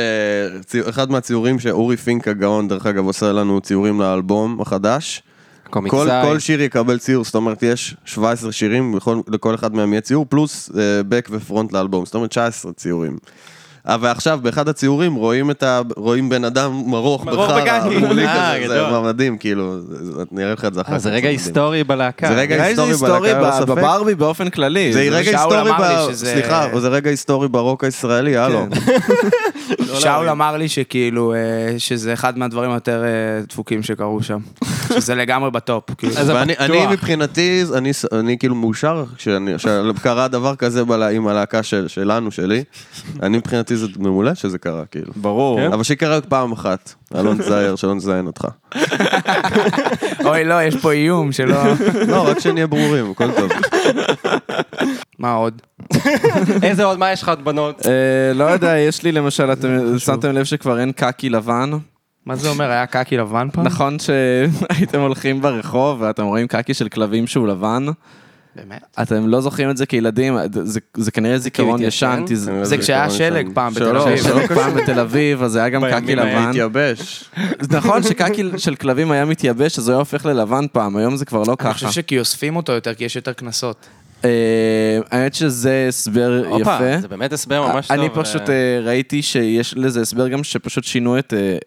צי- אחד מהציורים שאורי פינק הגאון, דרך אגב, עושה לנו ציורים לאלבום החדש. כל,
קומיקסאי.
כל שיר יקבל ציור, זאת אומרת, יש 17 שירים, לכל, לכל אחד מהם יהיה ציור, פלוס אה, back ופרונט לאלבום, זאת אומרת 19 ציורים. אה, ועכשיו, באחד הציורים רואים את ה... רואים בן אדם מרוך
מרוך
בחרא,
בקקי.
מולי
אה,
כזה, זה
גדול.
מדהים, כאילו, זה- נראה לך את זה אחר
אה,
כך.
זה רגע היסטורי בלהקה.
זה רגע
אולי זה
היסטורי
היסטורי
בלהקה,
ב-
ללא ספק.
בברבי באופן כללי.
זה רגע
שאול
היסטורי
אמר לי
ב...
שזה-
סליחה, זה רגע היסטורי ברוק הישראלי, הלו.
שאול אמר לי שכאילו, אה, שזה אחד מהדברים היותר אה, דפוקים שקרו שם. שזה לגמרי בטופ, כאילו.
אז
ואני
בטוח.
אני מבחינתי, אני, ס- אני כאילו מאושר כשאני- שקרה דבר כזה בלה, עם הלהקה של, שלנו, שלי. אני מבחינתי זה מעולה שזה קרה, כאילו.
ברור.
כן.
אבל שיקרה רק פעם אחת, אלון זייר, שלא נזיין אותך.
אוי, לא, יש פה איום שלא...
לא, רק שנהיה ברורים, הכל טוב.
מה עוד?
איזה עוד, מה יש לך עוד בנות?
אה, לא יודע, יש לי למשל, אתם שמתם לב שכבר אין קקי לבן?
מה זה אומר, היה קקי לבן פעם?
נכון שהייתם הולכים ברחוב ואתם רואים קקי של כלבים שהוא לבן?
באמת?
אתם לא זוכרים את זה כילדים, זה- זה כנראה זיכרון
התיישן?
ישן. תז-
[LAUGHS] זה כשהיה שלג פעם בתל
שלא,
לא,
אביב.
יש לנו פעם בתל אביב, אז היה גם קקי לבן.
התייבש.
זה [LAUGHS] נכון שקקי של כלבים היה מתייבש, אז הוא היה הופך ללבן פעם, היום זה כבר לא
אני
ככה.
חושב שכי אוספים אותו יותר, כי יש יותר קנסות.
אה, האמת שזה הסבר
הופה,
יפה.
זה באמת הסבר ממש טוב.
אני
אה,
פשוט אה, ראיתי שיש לזה הסבר גם שפשוט שינו את, אה,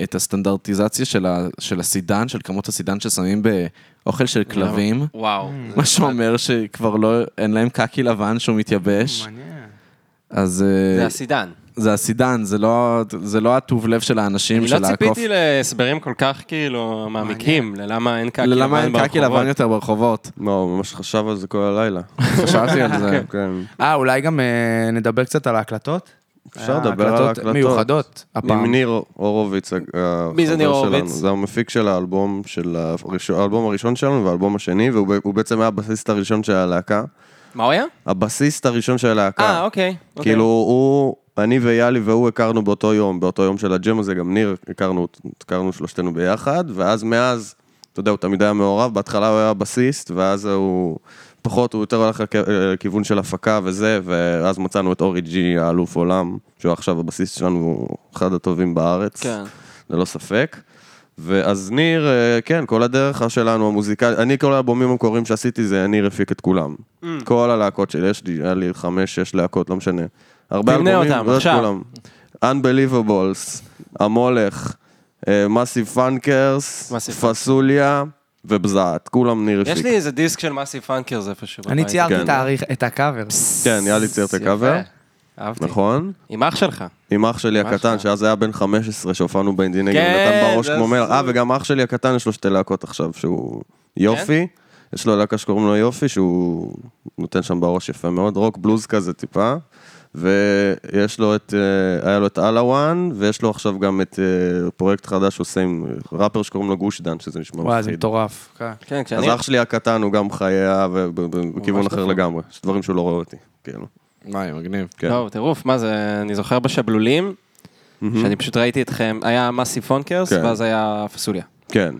אה, את הסטנדרטיזציה של ה- של הסידן, של כמות הסידן ששמים באוכל של
לא.
כלבים,
וואו.
אה,
מה שאומר שכבר לא, אין להם קקי לבן שהוא מתייבש,
מעניין.
אז אה,
זה הסידן.
זה הסידן, זה לא- זה לא הטוב לב של האנשים,
אני
של
לא
העקוף.
ציפיתי להסברים כל כך כאילו מעמיקים, ללמה אין קקי לבן ברחובות.
ללמה אין קקי לבן יותר ברחובות?
לא, הוא ממש חשב על זה כל הלילה.
חשבתי על זה.
כן.
אה, אולי גם אה, נדבר קצת על ההקלטות?
אפשר
אה,
לדבר על ההקלטות.
מיוחדות,
עם
הפעם.
ניר הורוביץ, החבר
מי זה ניר
שלנו.
הורוביץ?
זה המפיק של האלבום, של הראשון- האלבום הראשון שלנו והאלבום השני, והוא ב- הוא בעצם היה הבסיסט הראשון של הלהקה.
מה הוא היה?
הבסיסט הראשון של הלהקה.
אה, אוקיי. אוקיי.
כן. כאילו, הוא, אני ויאלי והוא הכרנו באותו יום, באותו יום של הג'ם הזה, גם ניר, הכרנו, הכרנו שלושתנו ביחד, ואז מאז, אתה יודע, הוא תמיד היה מעורב, בהתחלה הוא היה בסיסט, ואז הוא פחות, הוא יותר הלך לכ- לכיוון של הפקה וזה, ואז מצאנו את אורי ג'י, האלוף עולם, שהוא עכשיו הבסיסט שלנו, הוא אחד הטובים בארץ.
כן.
ללא לא ספק. ואז ניר, אה, כן, כל הדרך שלנו המוזיקלית, אני כל האלבומים המקוריים שעשיתי זה ניר הפיק את כולם.
Mm.
כל הלהקות שלי, יש לי, היה לי חמש, שש להקות, לא משנה. הרבה
תמנה
אלבומים,
אותם,
לא את
עכשיו.
כולם. Unbelievables, אה, המולך, מאסיב פאנקרס,
Massive
פסוליה ובזעת, כולם ניר
יש
הפיק.
לי איזה דיסק של מאסי פאנקרס איפשהו.
אני
בבית.
ציירתי
כן.
את האריך- את הקאבר.
כן, יאללה צייר את
יפה.
הקאבר,
אהבתי.
נכון?
עם אח שלך.
עם אח שלי
עם אח
הקטן,
שלך.
שאז היה בן 15, שהופענו באינדי נגב,
כן,
נתן בראש
זה כן?
כמו מלך.
הזוי.
אה, וגם אח שלי הקטן, יש לו שתי להקות עכשיו, שהוא יופי. יש לו להקה שקוראים לו יופי, שהוא נותן שם בראש יפה מאוד, רוק בלוז כזה טיפה. ויש לו את, אה, היה לו את אלאוואן, ויש לו עכשיו גם את אה, פרויקט חדש שהוא עושה עם ראפר שקוראים לו גוש דן, שזה נשמע
וואי, זה
מפחיד.
מטורף. כן.
כן, כשאני...
אז אח שלי הקטן הוא גם חיה ובכיוון
נכון.
אחר לגמרי, יש דברים שהוא לא רואה אותי, כאילו.
וואי, מגניב.
[LAUGHS] כן.
לא, טירוף, מה זה, אני זוכר בשבלולים, שאני פשוט ראיתי אתכם, היה מאסי פונקרס,
כן.
ואז היה פסוליה.
כן.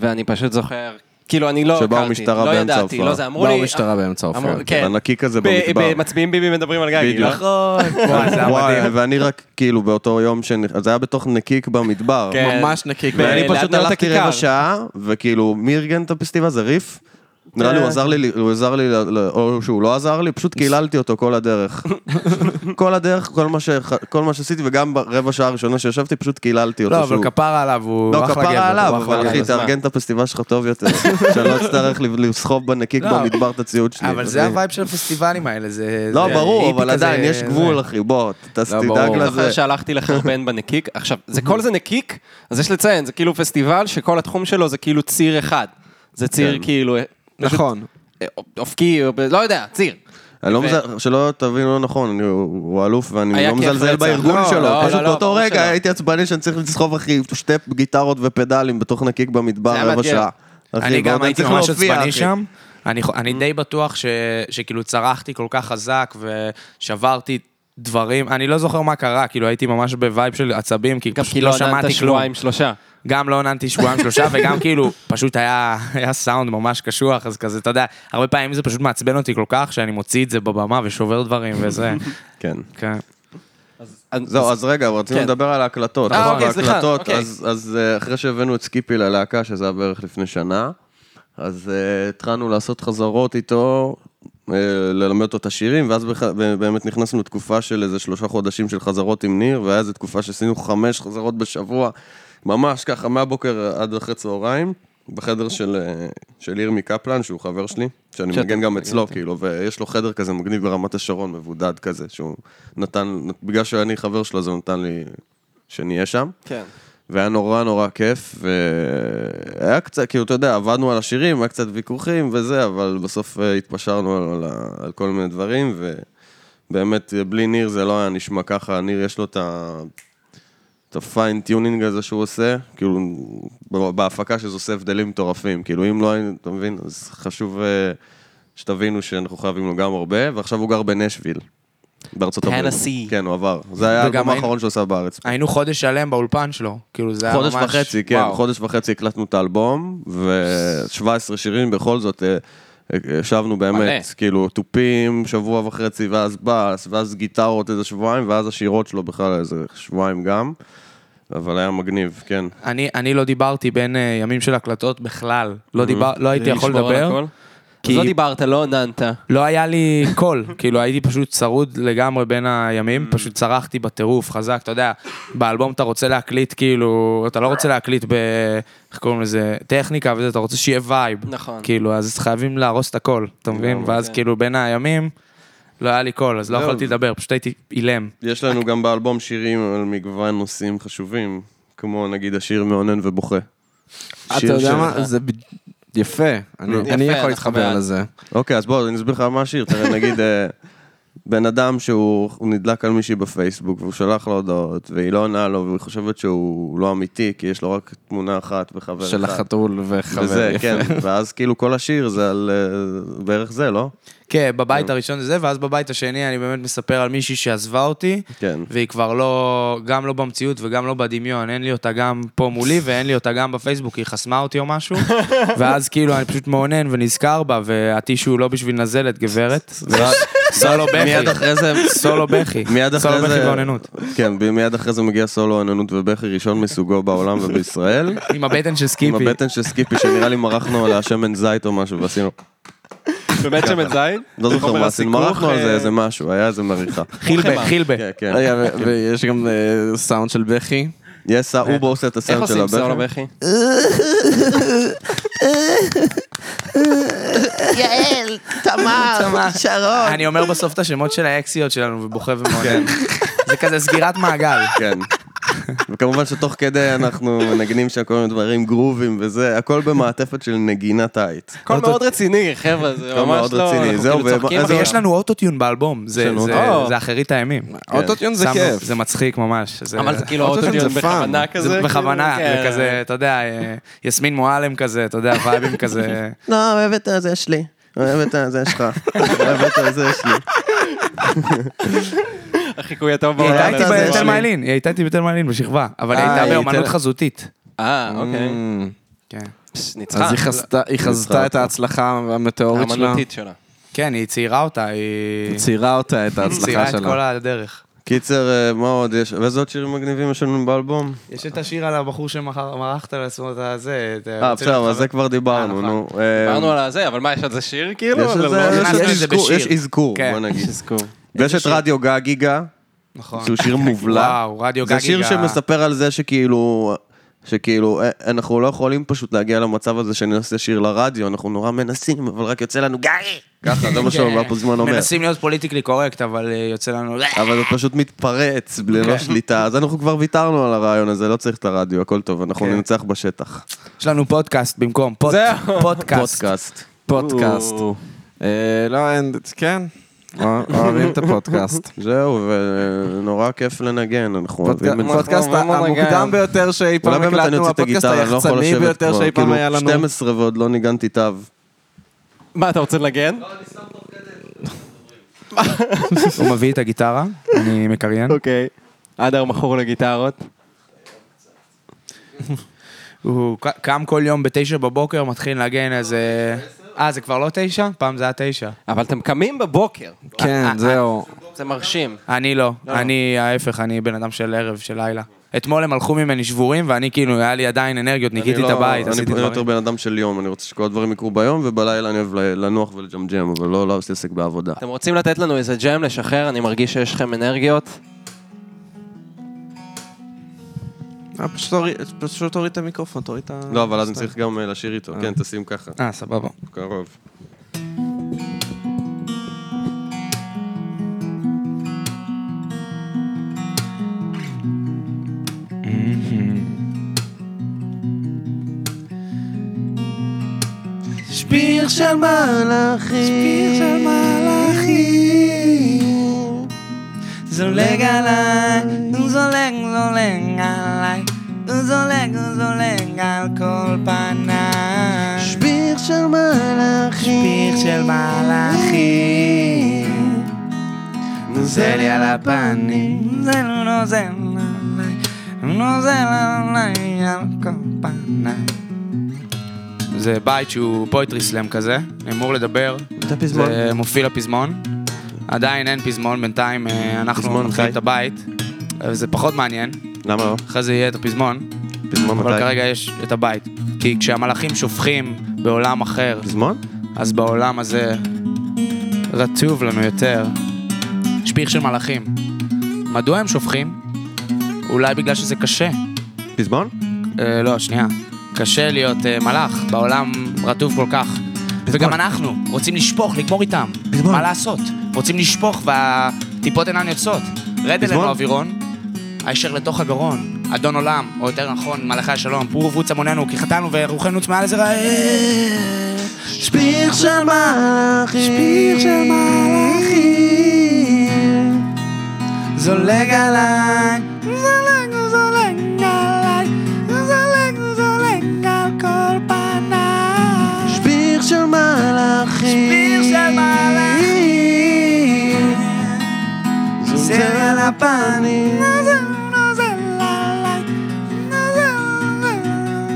ואני פשוט זוכר, כאילו, אני לא הכרתי,
שבאו משטרה
לא
באמצע
ידעתי,
ההופעה.
לא זה, אמרו לי...
באו משטרה באמצע
אמרו-
הופעה.
כן.
ענקי כזה
ב-
לא במדבר.
ב- מצביעים ביבי מדברים על גגי,
בדיוק.
נכון.
[LAUGHS] וואי, זה היה מדהים.
וואי, ואני רק, כאילו, באותו יום, שנכ- זה היה בתוך נקיק במדבר.
כן.
ממש נקי.
ב-
ואני
ליד
פשוט
נאות
הלכתי
הכיכר.
רבע שעה, וכאילו, מי ארגן את הפסטיבל הזה? ריף? נראה
אה.
לי הוא עזר לי, הוא עזר לי, ל- ל- או שהוא לא עזר לי, פשוט קיללתי אותו כל
[LAUGHS]
הדרך. כל הדרך, כל מה ש- כל מה שעשיתי, וגם ברבע שעה הראשונה שישבתי, פשוט קיללתי אותו.
לא, אבל
שהוא-
כפרה עליו, הוא
לא,
אחלה גבר.
כפרה עליו,
הוא אחלה
אבל אחי,
גבר.
תארגן את הפסטיבל שלך טוב יותר. [LAUGHS] שאני לא אצטרך לסחוב בנקיק
לא.
במדבר את הציוד שלי.
אבל זה הווייב של הפסטיבלים האלה, זה...
לא,
זה
ברור,
היפי
אבל
כזה, לא,
עדיין, יש
זה-
גבול, אחי, בוא, ת- תדאג
ברור.
אני
לזה.
זוכר שהלכתי לחרבן [LAUGHS] בנקיק, עכשיו, זה כל זה נקיק, אז יש לציין, זה כאילו פסטיבל שכל התחום שלו זה כאילו ציר אחד. זה ציר
כן.
כאילו... פשוט,
נכון.
אה, אופקי, או ב- לא יודע, ציר.
אני לא
ו-
מזלזל, שלא תבינו לא נכון, אני- הוא הוא אלוף ואני
היה
לא
כיף
מזלזל
רצח.
בארגון
לא,
שלו,
לא,
פשוט
לא, לא,
באותו
ברור
רגע
שלא.
הייתי עצבני שאני צריך לסחוב אחי שתי גיטרות ופדלים בתוך נקיק במדבר
זה היה
רבע
מאתגר.
שעה. אחי,
אני גם
ועוד
הייתי
צריך
ממש
להופיע,
עצבני
אחי. Mm.
שם. אני חו- אני די בטוח ש- שכאילו צרחתי כל כך חזק ושברתי דברים, אני לא זוכר מה קרה, כאילו הייתי ממש בווייב של עצבים, כי
גם
פשוט
כי
לא
לא עננת
שמעתי כלום.
שבועיים שלושה.
גם לא עננתי שבועיים שלושה,
[LAUGHS]
וגם כאילו, פשוט היה, היה סאונד ממש קשוח, אז כזה, אתה יודע, הרבה פעמים זה פשוט מעצבן אותי כל כך, שאני מוציא את זה בבמה ושובר דברים
[LAUGHS]
וזה.
כן.
כן.
זהו, אז רגע, אבל רצינו
כן.
לדבר על ההקלטות.
אה,
נכון,
אוקיי, סליחה,
ההקלטות,
אוקיי.
אז- אז אה, אחרי שהבאנו את סקיפי ללהקה, שזה היה בערך לפני שנה, אז אה, התחלנו לעשות חזרות איתו, אה, ללמד אותו את השירים, ואז בח- באמת נכנסנו לתקופה של איזה שלושה חודשים של חזרות עם ניר, והיה איזו תקופה שעשינו חמש חזרות בשבוע, ממש ככה, מהבוקר עד אחרי צהריים, בחדר של, אה, של ירמי קפלן, שהוא חבר שלי, שאני
שאתה
מנגן גם אצלו, כאילו, ויש לו חדר כזה מגניב ברמת השרון, מבודד כזה, שהוא נתן, בגלל שאני חבר שלו, אז הוא נתן לי שנהיה שם.
כן.
והיה נורא נורא כיף, והיה קצת, כאילו, אתה יודע, עבדנו על השירים, היה קצת ויכוחים וזה, אבל בסוף אה, התפשרנו על, על, ה- על כל מיני דברים, ובאמת, אה, בלי ניר זה לא היה נשמע ככה, ניר יש לו את ה... את הפיינטיונינג הזה שהוא עושה, כאילו, ב- בהפקה שזה עושה הבדלים מטורפים, כאילו, אם לא היינו, אתה מבין, אז חשוב אה, שתבינו שאנחנו חייבים לו גם הרבה, ועכשיו הוא גר בנשוויל, בארצות הברית.
טנסי.
כן, הוא עבר. זה היה
וגם
האלבום
היינו-
האחרון שהוא עשה בארץ.
היינו חודש שלם באולפן שלו, כאילו זה היה ממש...
חודש וחצי, כן,
וואו.
חודש וחצי הקלטנו את האלבום, ו-17 שירים, בכל זאת, אה, אה, ישבנו באמת,
מלא.
כאילו, תופים שבוע וחצי, ואז בס, ואז גיטרות איזה שבועיים, ואז השירות שלו בכלל איזה שבועיים גם, אבל היה מגניב, כן.
אני, אני לא דיברתי בין uh, ימים של הקלטות בכלל. לא, דיבר, לא הייתי יכול
לשמור על הכל?
לדבר,
אז
כי
לא דיברת, לא עוננת.
לא היה לי קול. [LAUGHS] כאילו, הייתי פשוט צרוד לגמרי בין הימים, פשוט צרחתי בטירוף, חזק. אתה יודע, באלבום אתה רוצה להקליט, כאילו, אתה לא רוצה להקליט ב... איך קוראים לזה? טכניקה וזה, אתה רוצה שיהיה וייב.
נכון.
כאילו, אז חייבים להרוס את הכל, אתה מבין? ואז כאילו, בין הימים, לא היה לי קול, אז לא
זהו.
יכולתי לדבר, פשוט הייתי אילם.
יש לנו גם באלבום שירים על מגוון נושאים חשובים, כמו נגיד השיר מאונן ובוכה.
אתה
שיר
יודע
ש-
מה? זה ב- יפה. אני אני
יפה,
יכול
אנחנו
להתחבר
בעד.
לזה.
אוקיי, אז בוא, אני אסביר לך מה השיר. תראה, נגיד, אה, בן אדם שהוא הוא נדלק על מישהי בפייסבוק, והוא שלח לה הודעות, והיא לא עונה לו, והיא חושבת שהוא לא אמיתי, כי יש לו רק תמונה אחת וחבר אחד.
של החתול וחבר.
וזה,
[LAUGHS] יפה.
כן, ואז כאילו כל השיר זה על אה, בערך זה, לא?
כן, בבית הראשון זה, ואז בבית השני אני באמת מספר על מישהי שעזבה אותי,
כן.
והיא כבר לא, גם לא במציאות וגם לא בדמיון, אין לי אותה גם פה מולי ואין לי אותה גם בפייסבוק, היא חסמה אותי או
[LAUGHS]
משהו, ואז כאילו אני פשוט מאונן ונזכר בה, והטישו לא בשביל נזלת,
[LAUGHS]
גברת, ואז סולו
מיד
בכי,
אחרי זה...
סולו בכי,
מיד אחרי
סולו
זה...
בכי ואוננות,
כן, ב- מיד אחרי זה מגיע סולו אוננות ובכי ראשון מסוגו בעולם ובישראל.
עם הבטן של
עם
סקיפי.
הבטן של סקיפי, שנראה לי מרחנו עליה שמן זית או משהו, ועשינו...
באמת
כן.
שמן זית?
לא זוכר
חומר
מה עשינו,
הסיכוך,
מרחנו על
אה,
זה איזה משהו, היה איזה מריחה.
חילבה,
חילבה.
חילבה.
כן, כן.
רגע, ו- ויש גם אה, סאונד של בכי.
יס, הוא בו עושה את
איך
אה,
הסאונד של
עושים
לא
סולו
הבכי.
בכי?
יעל, תמר, שרון.
אני אומר בסוף את השמות של האקסיות שלנו ובוכה ומאונן. זה כזה סגירת מעגל.
כן. וכמובן שתוך כדי אנחנו מנגנים שם כל מיני דברים גרובים וזה, הכל במעטפת של נגינת הייט.
הכל מאוד רציני, חבר'ה, זה
הכל
ממש
מאוד
לא...
רציני.
אנחנו
זהו,
כאילו
ומה-
צוחקים,
איזה-
אבל-
יש לנו אוטוטיון באלבום, זה-
לנו כן.
זה-
אוטוטיון.
זה אחרית הימים.
אוטוטיון זה
שמנו-
כיף.
זה מצחיק ממש. אה, זה-
אבל זה כאילו
אוטוטיון
אוטוטיון
זה fun.
בכוונה כזה.
זה
כאילו,
בכוונה,
כן.
זה כזה, אתה יודע, אה, יסמין מועלם כזה, אתה יודע, וייבים
[LAUGHS]
כזה.
לא, אוהב את הזה שלי. אוהב את הזה שלך. אוהב את הזה שלי.
החיקוי הטוב
היא
בעולם.
הייתה איתי
הזה. אה,
זה
בתל
שלי.
מעלין, היא הייתה איתי בתל מעלין בשכבה, אבל היא
אה,
הייתה
היא
באומנות
תל-
חזותית.
אה, אוקיי.
Mm.
כן.
פס, ניצחה.
אז היא חזתה- היא חזתה את
אותו.
ההצלחה
Mm,
המטאורית שלה.
האמנותית שלה.
כן, היא ציירה אותה, היא
ציירה אותה את ההצלחה
ציירה את כל
שלה.
הדרך.
קיצר, אה, מה עוד יש? ואיזה עוד שירים מגניבים יש לנו באלבום?
יש את השיר על הבחור שמרחת לעצמו את הזה.
אה, בסדר, אז זה כבר דיברנו,
נכון.
נו. אה,
דיברנו על הזה, אבל מה, אמ, יש על זה שיר כאילו?
יש על
אבל
זה-
לא-
הכנסנו
יש
את זה
אזכור-
בשיר.
יש אזכור,
כן.
בוא נגיד.
תזכור.
ויש את רדיו גגיגה,
נכון.
שהוא שיר מובלע.
וואו, רדיו גגיגה.
זה שיר שמספר על זה שכאילו, שכאילו, אה, אנחנו לא יכולים פשוט להגיע למצב הזה שנעשה שיר לרדיו, אנחנו נורא מנסים, אבל רק יוצא לנו גאי! ככה, זה מה שאומר פה זמן אומר.
מנסים להיות פוליטיקלי קורקט, אבל אה, יוצא לנו...
אבל זה פשוט מתפרץ
אוקיי.
ללא שליטה, אז אנחנו כבר ויתרנו על הרעיון הזה, לא צריך את הרדיו, הכל טוב, אנחנו
כן.
ננצח בשטח.
יש לנו פודקאסט במקום, פוד-
זהו.
פודקאסט.
פודקאסט.
פודקאסט. אה, לא, אין, כן.
אה,
אוה- אוהבים את
[LAUGHS]
הפודקאסט.
זהו, ונורא כיף לנגן, אנחנו אוהבים את זה.
הפודקאסט
אנחנו אוהבים
המוקדם
לנגן.
ביותר שאי
אולי
פעם
באמת אני
הקלטנו,
אוציא את
הפודקאסט
הגיטרה, אני לא יכול
היחצני
לשבת
ביותר
כבר,
שאי פעם היה
כאילו
לנו.
12 ועוד לא ניגנתי תו.
מה, אתה רוצה לנגן?
הוא מביא את הגיטרה, אני מקריין.
אוקיי. אדר מכור לגיטרות.
הוא ק- קם כל יום בתשע בבוקר, מתחיל לנגן איזה... אה, זה כבר לא תשע? פעם זה היה תשע.
אבל אתם קמים בבוקר.
כן, זהו.
זה מרשים.
לא.
אני לא. אני ההפך, אני בן אדם של ערב, של לילה. אתמול הם הלכו ממני שבורים, ואני כאילו, היה לי עדיין אנרגיות, ניקיתי
לא-
את הבית, עשיתי
אני יותר
דברים.
בן אדם של יום, אני רוצה שכל הדברים יקרו ביום, ובלילה אני אוהב ל- לנוח ולג'מג'ם, אבל לא לא להתעסק בעבודה.
אתם רוצים לתת לנו איזה ג'ם לשחרר? אני מרגיש שיש לכם אנרגיות.
אה, פשוט תוריד- פשוט תוריד את המיקרופון, תוריד את ה...
לא, אבל אז אני צריך גם אה, לשיר איתו. כן, תשים ככה,
אה, סבבה.
קרוב.
שפיר של מלאכים, שפיר של מלאכים, זולג עליי, הוא זולג, זולג עליי, הוא זולג, הוא זולג על כל פניי. שפיר של מלאכים, שפיר של מלאכים, נוזל לי על הפנים, נוזל, הוא נוזל עליי, הוא נוזל עליי על כל פניי.
זה בית שהוא פויטרי סלאם כזה, אני אמור לדבר.
זה הפזמון.
זה מופיע לפזמון. עדיין אין פזמון, בינתיים אה, אנחנו
פזמון
נתחיל
חי.
את הבית. אה, זה פחות מעניין,
למה לא?
אחרי זה יהיה את הפזמון,
פזמון
אבל
מתי?
כרגע יש את הבית. כי כשהמלאכים שופכים בעולם אחר,
פזמון?
אז בעולם הזה רטוב לנו יותר. שפיך של מלאכים. מדוע הם שופכים? אולי בגלל שזה קשה.
פזמון?
אה, לא, שנייה. קשה להיות אה, מלאך, בעולם רטוב כל כך. וגם אנחנו רוצים לשפוך, לגמור איתם. מה לעשות? רוצים לשפוך והטיפות אינן יוצאות. רד אלינו אווירון, הישר לתוך הגרון. אדון עולם, או יותר נכון, מלאכי השלום, פור ובוץ המוננו, כי חטאנו ורוחנו צמאה לזרע.
שפיר של מלאכים, שפיר של מלאכים, זולג עליי, זולג, זולג עליי, זולג, זולג על כל פניי. שפיר של מלאכים, שפיר של מלאכים, זולג על הפנים, נוזל, נוזל עליי, נוזל, נוזל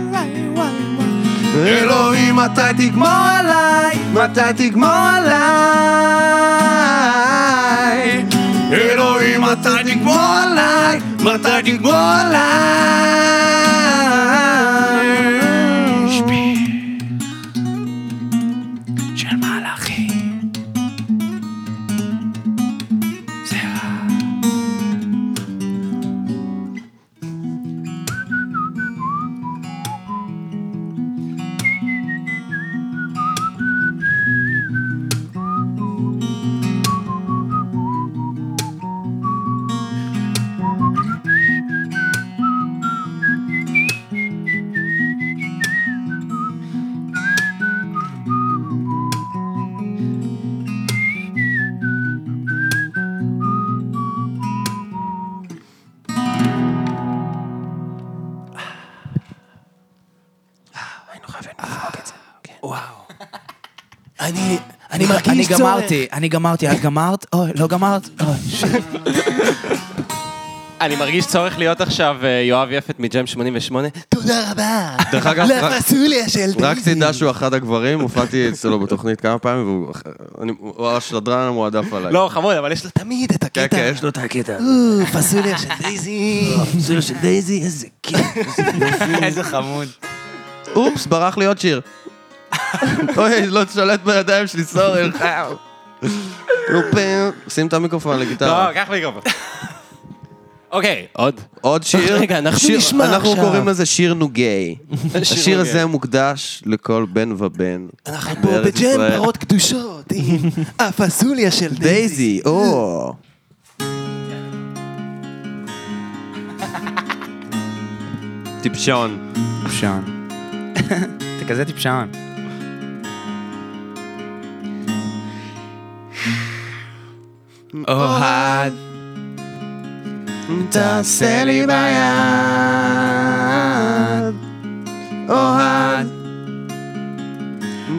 עליי, וואי וואי. אלוהים, מתי תגמור עליי? מתי תגמור עליי? אלוהים, מתי תגמור עליי? מתי תגמור עליי?
של מלאכים. אני, אני מרגיש צורך. אני גמרתי, אני גמרתי, את גמרת? אוי, לא גמרת? אוי, שיט.
אני מרגיש צורך להיות עכשיו אה, יואב יפת מג'ם 88.
תודה רבה.
דרך אגב, רק-
לפסוליה של דייזי.
רק תדע שהוא אחד הגברים, הופעתי אצלו בתוכנית כמה פעמים, והוא אני- הוא השדרן המועדף עליי.
לא, חמוד, אבל יש לו תמיד את
כן,
הקטע.
כן, יש לו את
הקטע. פסוליה של דייזי. פסוליה של דייזי, איזה
[LAUGHS]
כיף.
איזה חמוד.
אופס, ברח לי עוד שיר. אוי, לא תשלט בידיים שלי, סורי. נו, פם. שים את המיקרופון לגיטרה.
לא, קח מיקרופון. אוקיי, [LAUGHS] עוד.
עוד שיר.
רגע, אנחנו
שיר-
נשמע
אנחנו
עכשיו.
קוראים לזה שיר נוגי. השיר
נוגי.
הזה מוקדש לכל בן ובן.
אנחנו פה
בארץ
בג'ם
ישראל.
פרות קדושות עם הפסוליה של דייזי.
דייזי, או. [LAUGHS] טיפשון.
טיפשן. [LAUGHS] אתה כזה טיפשן. אוהד,
תעשה לי ביד, אוהד,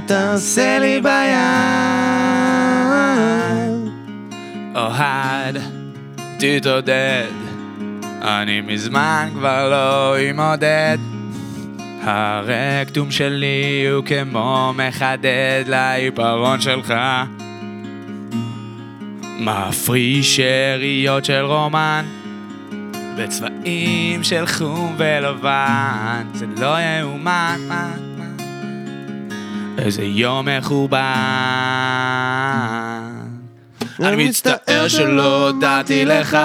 תעשה לי ביד.
אוהד, תתעודד. אני מזמן כבר לא עם עודד. הרקטום שלי הוא כמו מחדד לעיפרון שלך. מפריש שאריות של רומן. בצבעים של חום ולבן, זה לא יאומן. מה, מה. איזה יום מחורבן. אני מצטער שלא הודעתי לך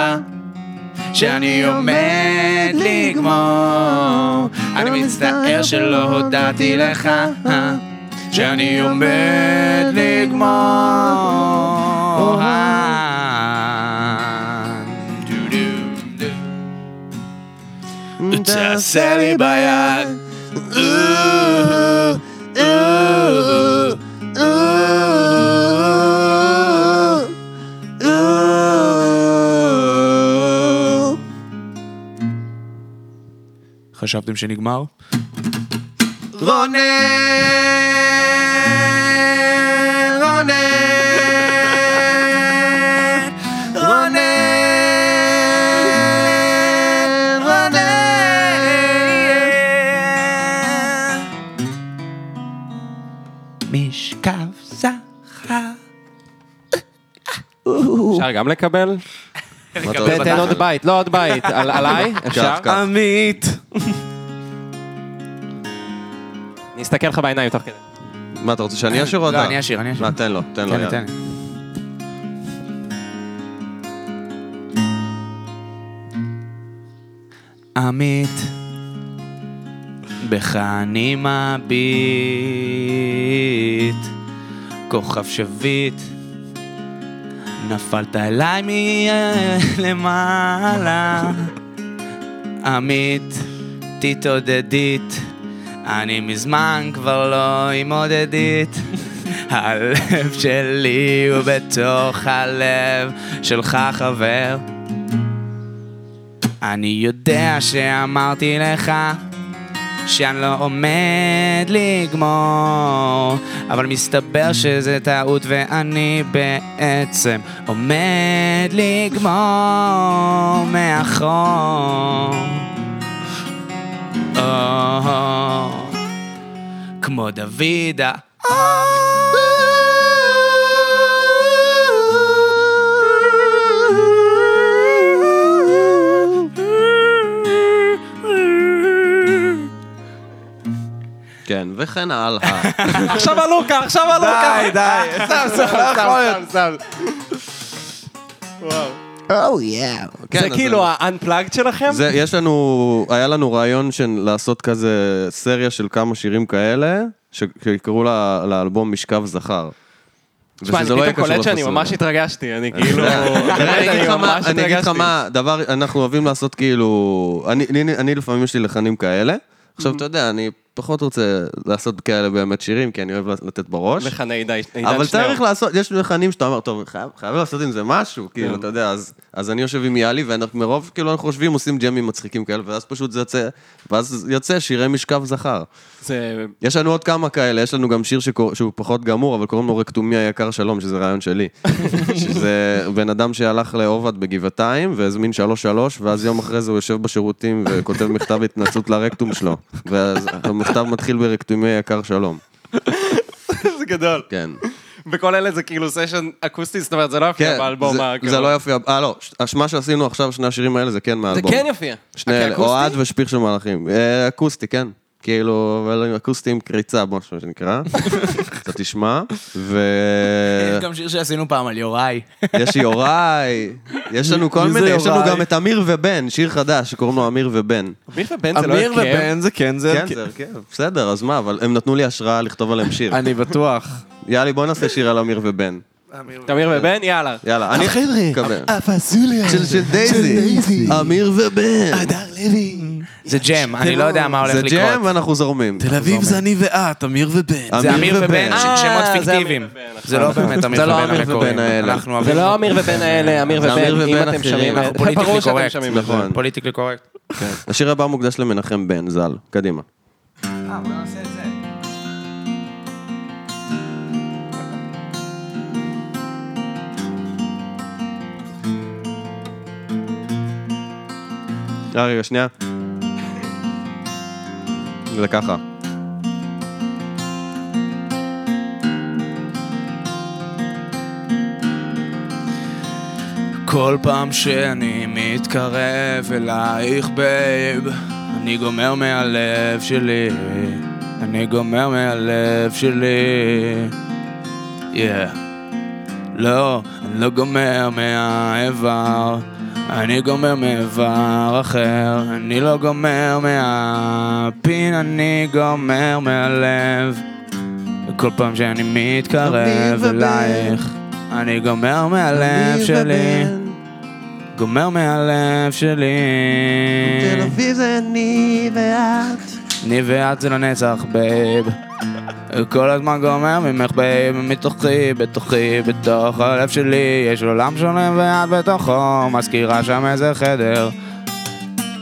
שאני עומד לגמור. אני מצטער שלא הודעתי לך אה, שאני עומד לגמור. דו דו דו. תעשה לי ביד. חשבתם שנגמר? רונן! רונן! רונן! רונן! משכב זכר.
אפשר גם לקבל? תן עוד בית, לא עוד בית, [LAUGHS] על- עליי, אפשר?
קח, קח.
עמית.
אני אסתכל לך בעיניים תוך כדי.
מה, אתה רוצה שאני אשיר או אתה?
לא, אני אשיר, אני אשיר.
מה, תן לו, תן לו.
תן לי,
יאללה.
תן לי. כן. עמית, בך אני מביט, כוכב שביט, נפלת אליי [LAUGHS] מלמעלה. עמית, תתעודדית, אני מזמן כבר לא עם עודדית. הלב שלי הוא בתוך הלב שלך חבר. אני יודע שאמרתי לך שאני לא עומד לגמור, אבל מסתבר שזה טעות ואני בעצם עומד לגמור מאחור. או, כמו דוידה.
כן, וכן
[LAUGHS]
הלאה.
עכשיו הלוקה, עכשיו הלוקה! די,
אה,
די. סתם, סתם, סתם, סתם.
כן,
זה
אז
כאילו
אני-
ה-unplugged שלכם?
זה, יש לנו, היה לנו רעיון של לעשות כזה סריה של כמה שירים כאלה, ש- שיקראו לה- לאלבום משכב זכר.
תשמע, אני
ושזה לא יהיה
פתאום
קשור
קולט שאני
לפסולת.
ממש התרגשתי,
[LAUGHS]
אני כאילו...
אני
באמת,
אגיד לך מה-
ממש
אני אגיד לך
התרגשתי.
מה, דבר, אנחנו אוהבים לעשות כאילו, אני- אני אני לפעמים יש לי לחנים כאלה, עכשיו אתה יודע, אני פחות רוצה לעשות כאלה באמת שירים, כי אני אוהב לתת בראש.
לחני עידן שניאור.
אבל צריך לעשות, יש לחנים שאתה אומר, טוב, חייב- חייב לעשות עם זה
כן.
משהו, כאילו, אתה יודע, אז- אז אני יושב עם יאלי, ומרוב, כאילו, אנחנו חושבים, עושים ג'מים מצחיקים כאלה, ואז פשוט זה יוצא, ואז יוצא שירי משכב זכר.
זה [LAUGHS]
יש לנו עוד כמה כאלה, יש לנו גם שיר שקור... שהוא פחות גמור, אבל קוראים לו רקטומי היקר שלום, שזה רעיון
[LAUGHS]
שלי. שזה בן אדם שהלך לעובד בגבעתיים, והזמין שלוש-שלוש, ואז יום אחרי זה הוא יושב בשירותים וכותב מכתב התנצלות לרקטום שלו. ואז המכתב מתחיל ברקטומי היקר שלום.
זה גדול.
כן.
וכל אלה זה כאילו סשן אקוסטי, זאת אומרת, זה לא יופיע
כן,
באלבום כאילו.
זה-
הקרוב.
זה לא יופיע, אה לא, ש- הש- מה שעשינו עכשיו, שני השירים האלה, זה כן
זה
מהאלבום.
כן יופיע.
שני אלה,
כאקוסטי?
אוהד ושפיך של מלאכים. אה, אקוסטי, כן. כאילו, אבל אקוסטי עם קריצה, מה שנקרא. אתה תשמע, ו...
יש [LAUGHS] אה. גם שיר שעשינו פעם על יוראי.
יש יוראי, יש לנו כל
מי זה
מיני, יש לנו
יוראי?
גם את אמיר ובן, שיר חדש שקוראים לו אמיר ובן.
אמיר ובן זה לא
אמיר
הרכב.
ובן זה כן, זה...
כן, זה הרכב, בסדר, אז מה, אבל הם נתנו לי השראה לכתוב עליהם שיר.
אני בטוח.
יאללה, בוא נעשה שיר על אמיר ובן.
אמיר ובן, יאללה.
יאללה, אני חבר'ה,
הפסוליה
של של דייזי,
אה, דייזי.
אמיר ובן.
הדר לוי.
זה ג'ם, אני לא יודע מה הולך
זה
לקרות.
ג'ם ואנחנו זורמים.
תל אביב זה אני ואת, לא אמיר ובן.
זה אמיר ובן, ש-
אה,
שמות
זה אמיר
פיקטיביים.
ובן,
זה לא באמת אמיר
זה לא
ובן
אמיר
המקוריים.
ובן האלה.
אנחנו
זה
אוהבים-
לא אמיר ובן האלה, אמיר
זה אמיר
ובן, אם
ובן
אתם
אחרים.
שומעים,
אנחנו
את- ברור
פוליטיקלי
שאתם
קורקט.
שומעים. את זה.
נכון.
פוליטיקלי קורקט.
השיר הבא מוקדש למנחם בן, ז"ל. קדימה. אה, רגע, שנייה. זה ככה.
כל פעם שאני מתקרב אלייך, בייב, אני גומר מהלב שלי, אני גומר מהלב שלי. Yeah. לא, אני לא גומר מהאיבר, אני גומר מאיבר אחר, אני לא גומר מהפין, אני גומר מהלב. כל פעם שאני מתקרב אלייך, אני גומר מהלב שלי, גומר מהלב שלי.
תל אביב זה אני ואת.
אני ואת זה לנצח, בייב. כל הזמן גומר ממך, בייב, מתוכי, בתוכי, בתוך הלב שלי, יש עולם שונה ואת בתוכו, מזכירה שם איזה חדר.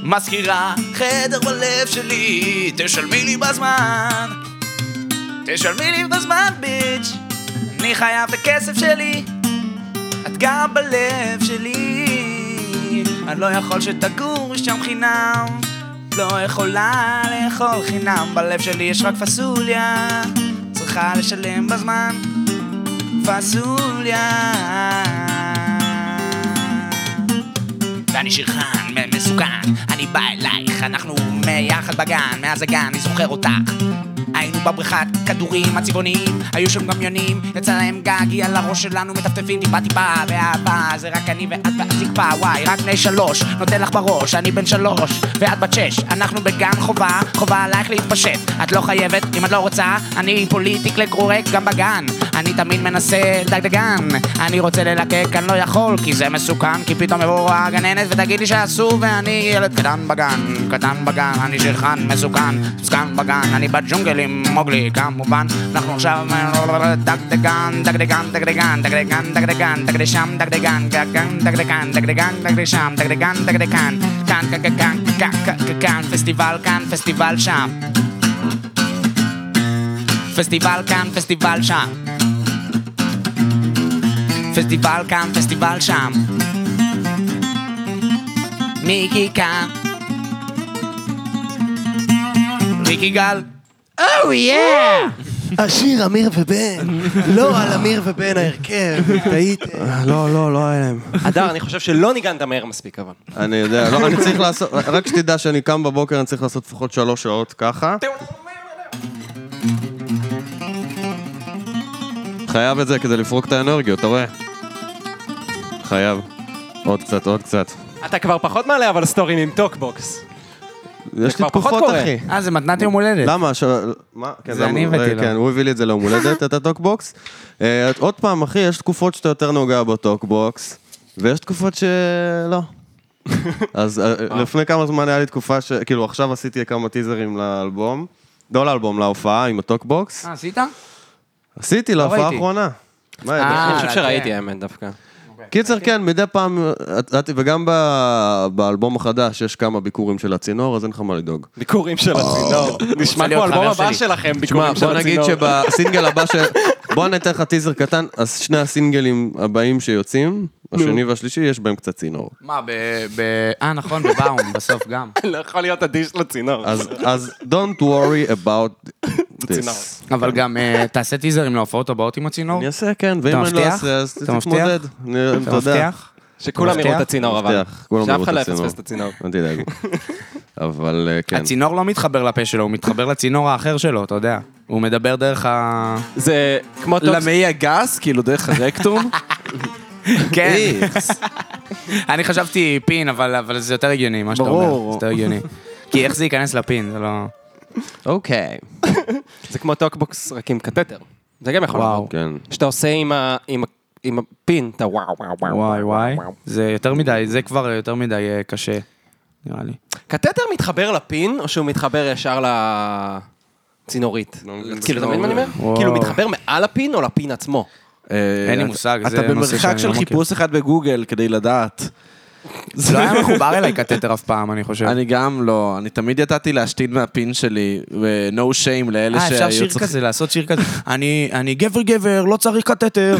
מזכירה חדר בלב שלי, תשלמי לי בזמן. תשלמי לי בזמן, ביץ'. אני חייב את הכסף שלי, את גם בלב שלי. אני לא יכול שתגור שם חינם, לא יכולה לאכול חינם. בלב שלי יש רק פסוליה, צריכה לשלם בזמן. פסוליה. ואני שירחן מ- מסוכן, אני בא אלייך, אנחנו ביחד בגן, מאז הגן אני זוכר אותך. היינו בבריכת כדורים הצבעוניים, היו שם גם יונים, יצא להם גגי על הראש שלנו מטפטפים טיפה טיפה, ואהבה זה רק אני ואת והזקפה, וואי, רק בני שלוש, נותן לך בראש, אני בן שלוש, ואת בת שש, אנחנו בגן חובה, חובה עלייך להתפשט, את לא חייבת, אם את לא רוצה, אני פוליטיקלי קורקט גם בגן, אני תמיד מנסה דגדגן, אני רוצה ללקק, אני לא יכול, כי זה מסוכן, כי פתאום יבואו הגננת ותגיד לי שאסור, ואני ילד קטן בגן, קטן בגן, אני שכחן, מסוכן, מסוכן בגן, אני בג'ונגל עם מוגלי, כמובן, אנחנו עכשיו דגדגן, דגדגן, דגדגן, דגדגן, דגדגן, דגדשם, דגדגן, דגדגן, דגדגן, דגדגן, דגדשם, דגדגן, דגדגן, כאן, כאן, כאן, כאן, כאן, כאן, כאן, פסטיבל כאן, פסטיבל שם. פסטיבל כאן, פסטיבל שם. פסטיבל כאן, פסטיבל שם. מיקי כאן. ריקי גל.
השיר אמיר ובן. לא על אמיר ובן ההרכב,
[LAUGHS]
טעיתם.
לא, לא, לא היה להם.
אדר, אני חושב שלא ניגנת מהר מספיק, אבל.
אני יודע, לא, אני צריך לעשות, רק שתדע שאני קם בבוקר, אני צריך לעשות לפחות שלוש שעות ככה. חייב את זה כדי לפרוק את האנרגיות, אתה רואה? חייב. עוד קצת, עוד קצת.
אתה כבר פחות מעלה אבל סטורים עם טוקבוקס.
יש
כבר פחות
לי תקופות,
קורה.
אחי.
אה, זה מתנת יום הולדת.
למה? ש... מה? כן,
זה
למה?
אני הבאתי
רגע,
לו.
כן, הוא הביא לי את זה ליום הולדת, את הטוקבוקס. אה, עוד פעם, אחי, יש תקופות שאתה יותר נוגע בטוקבוקס, ויש תקופות
[LAUGHS]
שלא. אז אה, לפני כמה זמן היה לי תקופה ש... כאילו, עכשיו עשיתי כמה טיזרים לאלבום. לא לאלבום, להופעה עם הטוקבוקס.
אה, עשית?
עשיתי להופעה
ראיתי.
האחרונה. מה, ידעתי?
אה,
אני חושב
כן.
שראיתי האמת דווקא.
קיצר, כן, מדי פעם, את- את- וגם ב- באלבום החדש יש כמה ביקורים של הצינור, אז אין לך מה לדאג.
ביקורים של הצינור. נשמע
להיות
כמו אלבום
חבר
הבא
שלי.
שלכם,
תשמע,
ביקורים של
בוא נגיד
הצינור.
שבסינגל הבא ש...
[LAUGHS]
בוא ניתן לך טיזר קטן, אז שני הסינגלים הבאים שיוצאים, השני והשלישי, יש בהם קצת צינור.
מה, ב... ב- אה, נכון, בבאום, [LAUGHS] בסוף גם.
[LAUGHS] לא יכול להיות אדיש לצינור.
אז אז don't worry
[LAUGHS]
about
צינור.
this.
אבל גם אה, תעשה טיזרים להופעות הבאות עם הצינור.
אני אעשה, כן, ואם אני לא
מבטיח?
אעשה, אז
אתה מבטיח?
תתמודד. אני-
אתה
אתה יודע.
מבטיח?
שכולם יראו את הצינור אבל.
מבטיח, כולם
שאף
יראו
אחד לא
את
יפספס את הצינור. [LAUGHS]
אל תדאגו. אבל אה, כן.
הצינור לא מתחבר לפה שלו, הוא מתחבר לצינור האחר שלו, אתה יודע. הוא מדבר דרך ה...
זה כמו טוקס.
למעי הגס, כאילו [LAUGHS]
[LAUGHS]
דרך הרקטום.
כן. אני חשבתי פין, אבל אבל זה יותר הגיוני, מה שאתה אומר.
ברור.
זה יותר הגיוני. כי איך זה ייכנס לפין, זה לא...
[LAUGHS]
אוקיי.
זה כמו טוקבוקס רק עם קתטר. זה גם יכול
וואו.
להיות.
כן.
שאתה עושה עם ה- עם ה- עם הפין, אתה וואו וואו וואו.
וואי וואי.
וואו.
זה יותר מדי, זה כבר יותר מדי אה, קשה, נראה לי.
קתטר מתחבר לפין, או שהוא מתחבר ישר לצינורית? כאילו, אתה מבין מה אני אומר?
וואו.
כאילו, מתחבר מעל הפין או לפין עצמו?
אין לי מושג, זה
אה, אתה
נושא
במרחק
שאני
של
לא מכיר.
חיפוש אחד בגוגל כדי לדעת.
זה לא היה מחובר אליי קתטר אף פעם, אני
כן.
חושב.
אני גם לא, אני תמיד ידעתי להשתין מהפין שלי, ו-no shame לאלה
אה,
שהיו
אפשר שיר כזה, לעשות שיר כזה. אני אני גבר גבר, לא צריך קטטר.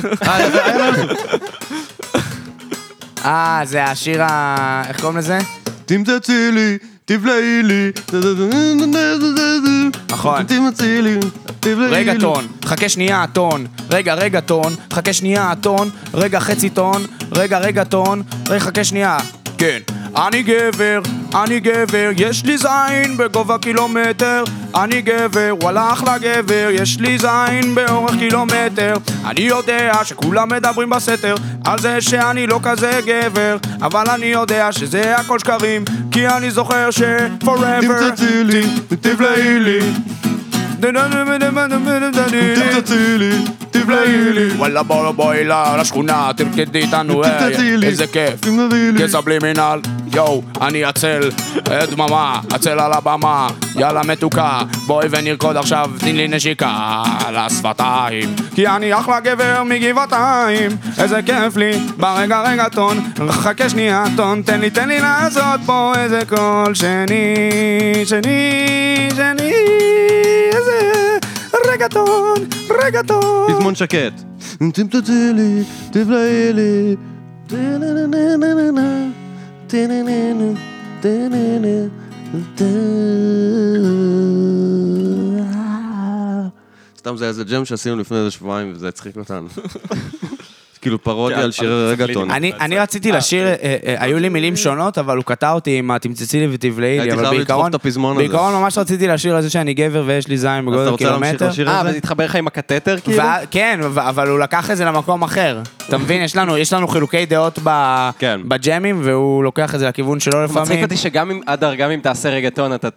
אה, זה השיר ה... איך קוראים לזה?
תמצאי לי, תבלעי לי.
נכון.
תמצאי לי, תבלעי לי.
רגע טון, חכה שנייה טון, רגע רגע טון, חכה שנייה טון, רגע חצי טון, רגע, רגע, טון, רגע, חכה שנייה. כן. אני גבר, אני גבר, יש לי זין בגובה קילומטר. אני גבר, וואלה אחלה גבר, יש לי זין באורך קילומטר. אני יודע שכולם מדברים בסתר על זה שאני לא כזה גבר, אבל אני יודע שזה הכל שקרים, כי אני זוכר ש... forever
תמצאי לי, תבלעי לי, תמצאי לי, תבלעי לי.
וואלה בוא בואי ל- לשכונה, תרקדי איתנו, היי,
תמצאי לי.
איזה כיף.
תמצאי לי.
כסבלימינל, יואו, אני הצל, אה, דממה, הצל על הבמה, יאללה מתוקה, בואי ונרקוד עכשיו, תני לי נשיקה על השפתיים, כי אני אחלה גבר מגבעתיים, איזה כיף לי, ברגע רגע טון, חכה שנייה טון, תן לי, תן לי לעשות פה איזה קול שני, שני, שני, איזה רגע טון, רגע טון.
פזמון שקט.
Mm,
תמצאי לי, תבלעי לי. טה-נה-נה-נה-נה-נה, טה-נה-נה-נה, טה-נה-נה, טה. סתם זה איזה ג'ם שעשינו לפני איזה שבועיים וזה הצחיק אותנו. כאילו פרודיה על שירי רגטון.
אני, אני רציתי לשיר, אה,
אוקיי.
אה, היו לי מילים שונות, אבל הוא קטע אותי עם התמצצי לי ותבלעי לי,
הייתי
אבל
חייב לדחוף
בעיקרון,
את הפזמון הזה.
בעיקרון ממש רציתי לשיר על זה שאני גבר ויש לי זין
אז אתה
בגודל
רוצה להמשיך
קילומטר.
לשיר
אה,
את
וזה
זה?
התחבר לך עם הקטטר כאילו?
וה- כן, ו- אבל הוא לקח את זה למקום אחר. אתה מבין? יש לנו, יש לנו חילוקי דעות ב-
כן.
בג'אמים, והוא לוקח את זה לכיוון שלו
מצחיק
לפעמים.
אותי שגם אם, אדר, גם אם תעשה רגטון, אתה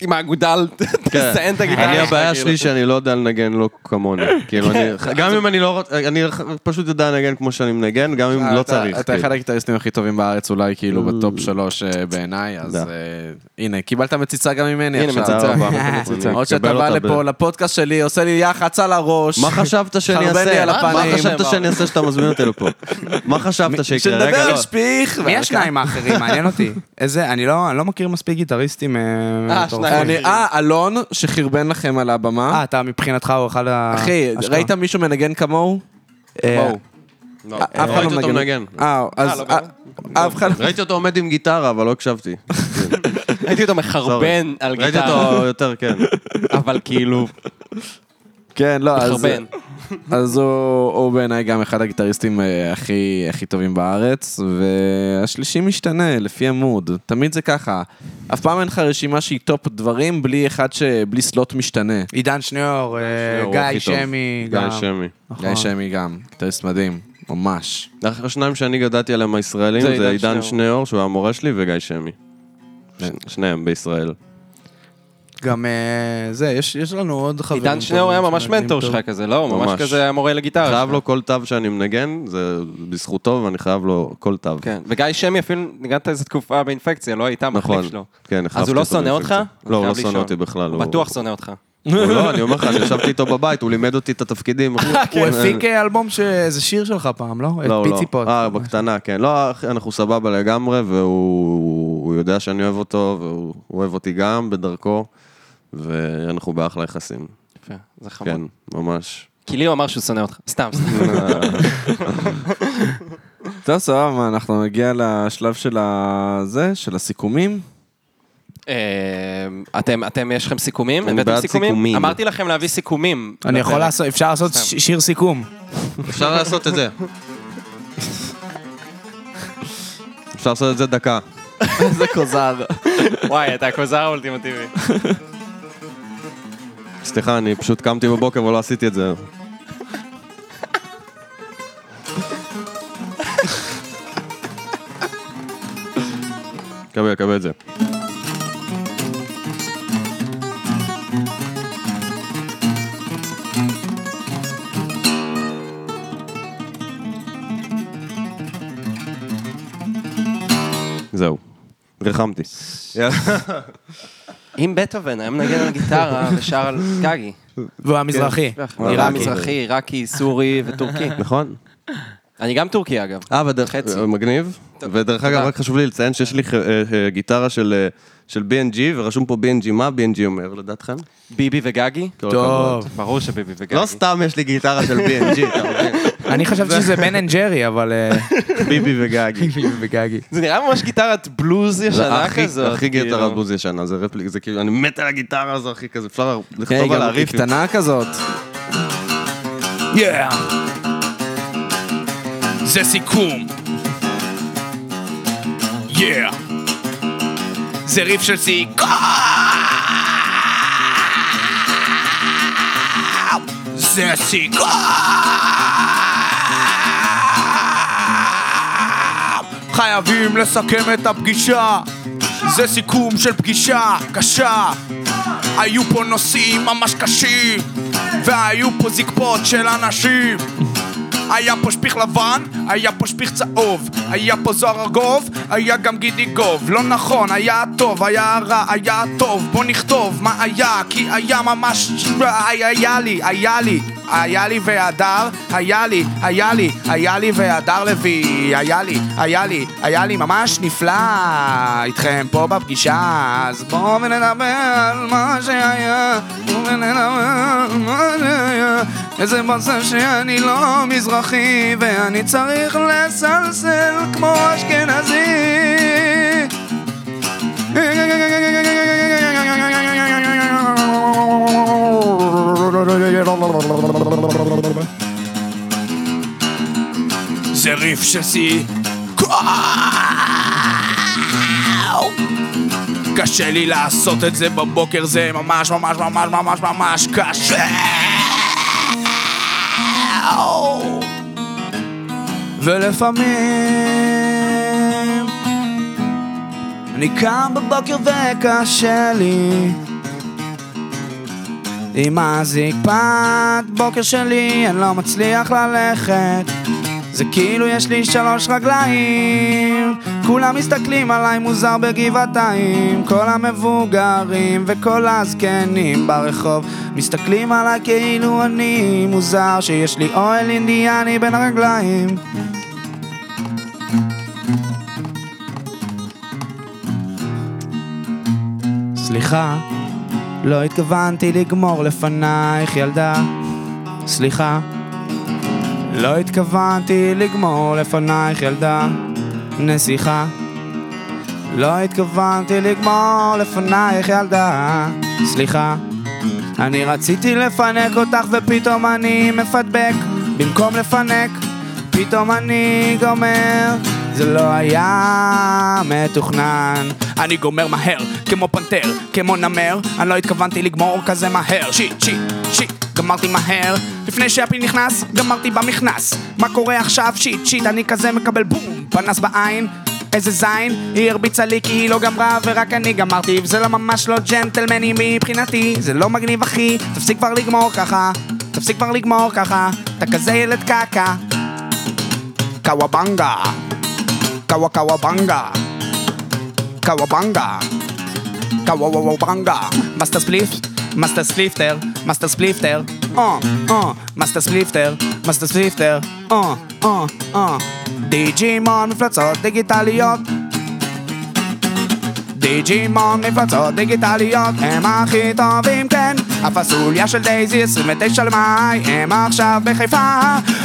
עם האגודל, [LAUGHS] תסיים את הגיטרה.
כן. אני
שלך,
הבעיה
כאילו.
שלי שאני לא יודע לנגן לא כמוני. כאילו, אני- גם אם אני לא רוצה, אני פשוט יודע לנגן כמו שאני מנגן, גם אם לא
אה, אתה-
צריך.
אתה
כאילו.
אחד הגיטריסטים הכי טובים בארץ, אולי כאילו בטופ שלוש אה, בעיניי, אז
תודה.
אה, הנה, קיבלת מציצה גם ממני
הנה,
עכשיו.
מציצה.
[LAUGHS]
תודה רבה.
מציצה.
אני
עוד שאתה
אקבל
בא
אותה ב-
לפה, לפודקאסט שלי, עושה לי יח"צ על הראש.
מה חשבת שאני
חרבן לי
אעשה?
על
מה
הפנים.
חשבת שאני אעשה שאתה מזמין אותי לפה? מה חשבת שיקרה?
שנדבר
רגע,
על
לא.
שפיך.
מי
ועל
השניים האחרים? מעניין אותי. כן. [LAUGHS] איזה, אני לא, אני לא מכיר מספיק גיטריסטים אה,
כ-
מטורפים.
אני- אה, אלון, שחרבן לכם על הבמה.
אה, אתה מבחינתך הוא אחד ה...
אחי,
אשכרה.
ראית מישהו מנגן כמוהו?
אה,
בואו.
לא,
אף אחד
ראיתי
לא
אותו
מנגן.
מנגן.
אה, אז
לא,
אה, אף אחד...
ראיתי אותו עומד עם גיטרה, אבל לא הקשבתי.
ראיתי אותו מחרבן
סורי.
על
ראיתי
גיטרה,
אותו יותר, כן.
אבל [LAUGHS] כאילו,
כן, לא, אז...
מחרבן.
אז הוא, הוא בעיניי גם אחד הגיטריסטים אה, הכי, הכי טובים בארץ, והשלישי משתנה לפי המוד, תמיד זה ככה. אף פעם אין לך רשימה שהיא טופ דברים בלי אחד ש... בלי סלוט משתנה.
עידן שניאור, אה,
הוא הכי
גיא
טוב.
שמי,
גיא
גם.
שמי.
נכון.
גיא שמי גם, גיטריסט מדהים, ממש.
השניים שאני גדלתי עליהם הישראלים
זה
זה
עידן
עידן
שניאור.
שניאור, שהוא המורה שלי, וגיא שמי. ש- שניהם בישראל.
אה,
גם אה, זה, יש, יש לנו עוד חברים.
עידן שניאור היה
טובים
ממש
שמנגנים
מנטור
טוב.
שלך כזה, לא? הוא ממש
ממש.
כזה היה מורה לגיטרה.
חייב
שלך.
לו כל תו שאני מנגן, זה בזכותו, ואני חייב לו כל תו.
כן, וגיא שמי אפילו ניגנת איזה תקופה באינפקציה, לא היית המחליף
נכון.
שלו.
כן,
אז
החלפתי
הוא לא
אותו
שונא אותך?
באינפקציה. לא, הוא
חייב
לא
לשאול.
שונא אותי בכלל.
הוא בטוח שונא אותך.
הוא לא, אני אומר לך, אני ישבתי איתו בבית, הוא לימד אותי את
[LAUGHS]
התפקידים.
כן,
כן.
הוא הפיק אה, אלבום שזה שיר שלך פעם, לא?
לא,
את
לא.
פיציפות.
אה, בקטנה, כן. לא, אחי, אנחנו סבבה לגמרי, והוא הוא יודע שאני אוהב אותו, והוא הוא אוהב אותי גם בדרכו, ואנחנו באחלה יחסים.
יפה, זה חמוד.
כן, ממש.
כי לי הוא אמר שהוא שונא אותך. סתם, סתם.
[LAUGHS]
טוב, סבבה, אנחנו נגיע לשלב של הזה, של הסיכומים.
אה, אתם, אתם, יש לכם סיכומים?
אני
הבאתם
בעד סיכומים.
אמרתי לכם להביא סיכומים.
אני יכול
אה,
לפרק.
לעשות, אפשר לעשות
סתם.
ש- שיר סיכום.
אפשר לעשות את זה. אפשר לעשות את זה דקה.
איזה כוזר.
וואי, אתה הכוזר האולטימטיבי.
סליחה, אני פשוט קמתי בבוקר ולא עשיתי את זה. קבל, קבל את זה. זהו. ריחמתי.
אם בטהובן היה מנגן על
[LAUGHS]
גיטרה ושר על קאגי.
והוא המזרחי.
נראה מזרחי, עיראקי, סורי
[LAUGHS]
וטורקי.
נכון?
אני גם טורקי אגב.
אה, ודרך
חצי.
אה, מגניב. ודרך אגב,
תודה.
רק חשוב לי לציין שיש לי ח- אה, אה, גיטרה של אה, של B&G, ורשום פה B&G, מה B&G אומר לדעתכם?
ביבי וגגי?
כל הכבוד.
טוב.
ברור שביבי וגגי.
לא סתם יש לי גיטרה של B&G, אתה מבין?
אני חשבתי שזה בן אנד ג'רי, אבל... אה,
[LAUGHS]
[LAUGHS]
ביבי
[LAUGHS]
וגגי.
ביבי וגגי.
זה נראה ממש גיטרת בלוז
זה
ישנה
הכי-
כזאת.
הכי
כאילו.
גיטרה בוז ישנה, זה רפליק, זה כאילו, אני מת על הגיטרה הזו, אחי, כזה, אפשר
כן,
לכתוב על
גם היא
הריפים.
קטנה כזאת.
יאה! זה סיכום. יא! זה ריף של סיכון! זה סיכון! חייבים לסכם את הפגישה זה סיכום של פגישה קשה היו פה נושאים ממש קשים והיו פה זקפות של אנשים היה פה שפיך לבן, היה פה שפיך צהוב, היה פה זוהר ארגוב, היה גם גידי גוב. לא נכון, היה טוב, היה רע, היה טוב, בוא נכתוב מה היה, כי היה ממש... היה, היה לי, היה לי, היה לי והדר, היה לי, היה לי, היה לי והדר לוי, היה לי, היה לי, היה לי ממש נפלא איתכם פה בפגישה, אז בואו ונדבר על מה שהיה, בואו ונדבר על מה שהיה. איזה באסה שאני לא מזרחי ואני צריך לסלסל כמו אשכנזי זה ריף של סיכום קשה לי לעשות את זה בבוקר זה ממש ממש ממש ממש ממש קשה ולפעמים אני קם בבוקר וקשה לי עם הזקפת בוקר שלי אני לא מצליח ללכת זה כאילו יש לי שלוש רגליים כולם מסתכלים עליי מוזר בגבעתיים כל המבוגרים וכל הזקנים ברחוב מסתכלים עליי כאילו אני מוזר שיש לי אוהל אינדיאני בין הרגליים סליחה, לא התכוונתי לגמור לפנייך ילדה סליחה, לא התכוונתי לגמור לפנייך ילדה נסיכה לא התכוונתי לגמור לפנייך ילדה סליחה אני רציתי לפנק אותך ופתאום אני מפדבק במקום לפנק פתאום אני גומר זה לא היה מתוכנן אני גומר מהר כמו פנתר כמו נמר אני לא התכוונתי לגמור כזה מהר שיט שיט שיט גמרתי מהר לפני שהפיל נכנס גמרתי במכנס מה קורה עכשיו שיט שיט אני כזה מקבל בום פנס בעין איזה זין, היא הרביצה לי כי היא לא גמרה ורק אני גמרתי וזה לא ממש לא ג'נטלמני מבחינתי זה לא מגניב אחי, תפסיק כבר לגמור ככה תפסיק כבר לגמור ככה אתה כזה ילד קקה קוואבנגה קווא קוואבנגה קוואבנגה קוואבנגה מאסטר ספליף מאסטר ספליפטר מאסטר ספליפטר או או מאסטר ספליפטר מאסטר ספליפטר או או או דיג'ימון מפלצות דיגיטליות דיג'ימון מפלצות דיגיטליות הם הכי טובים כן הפסוליה של דייזי 29 למאי הם עכשיו בחיפה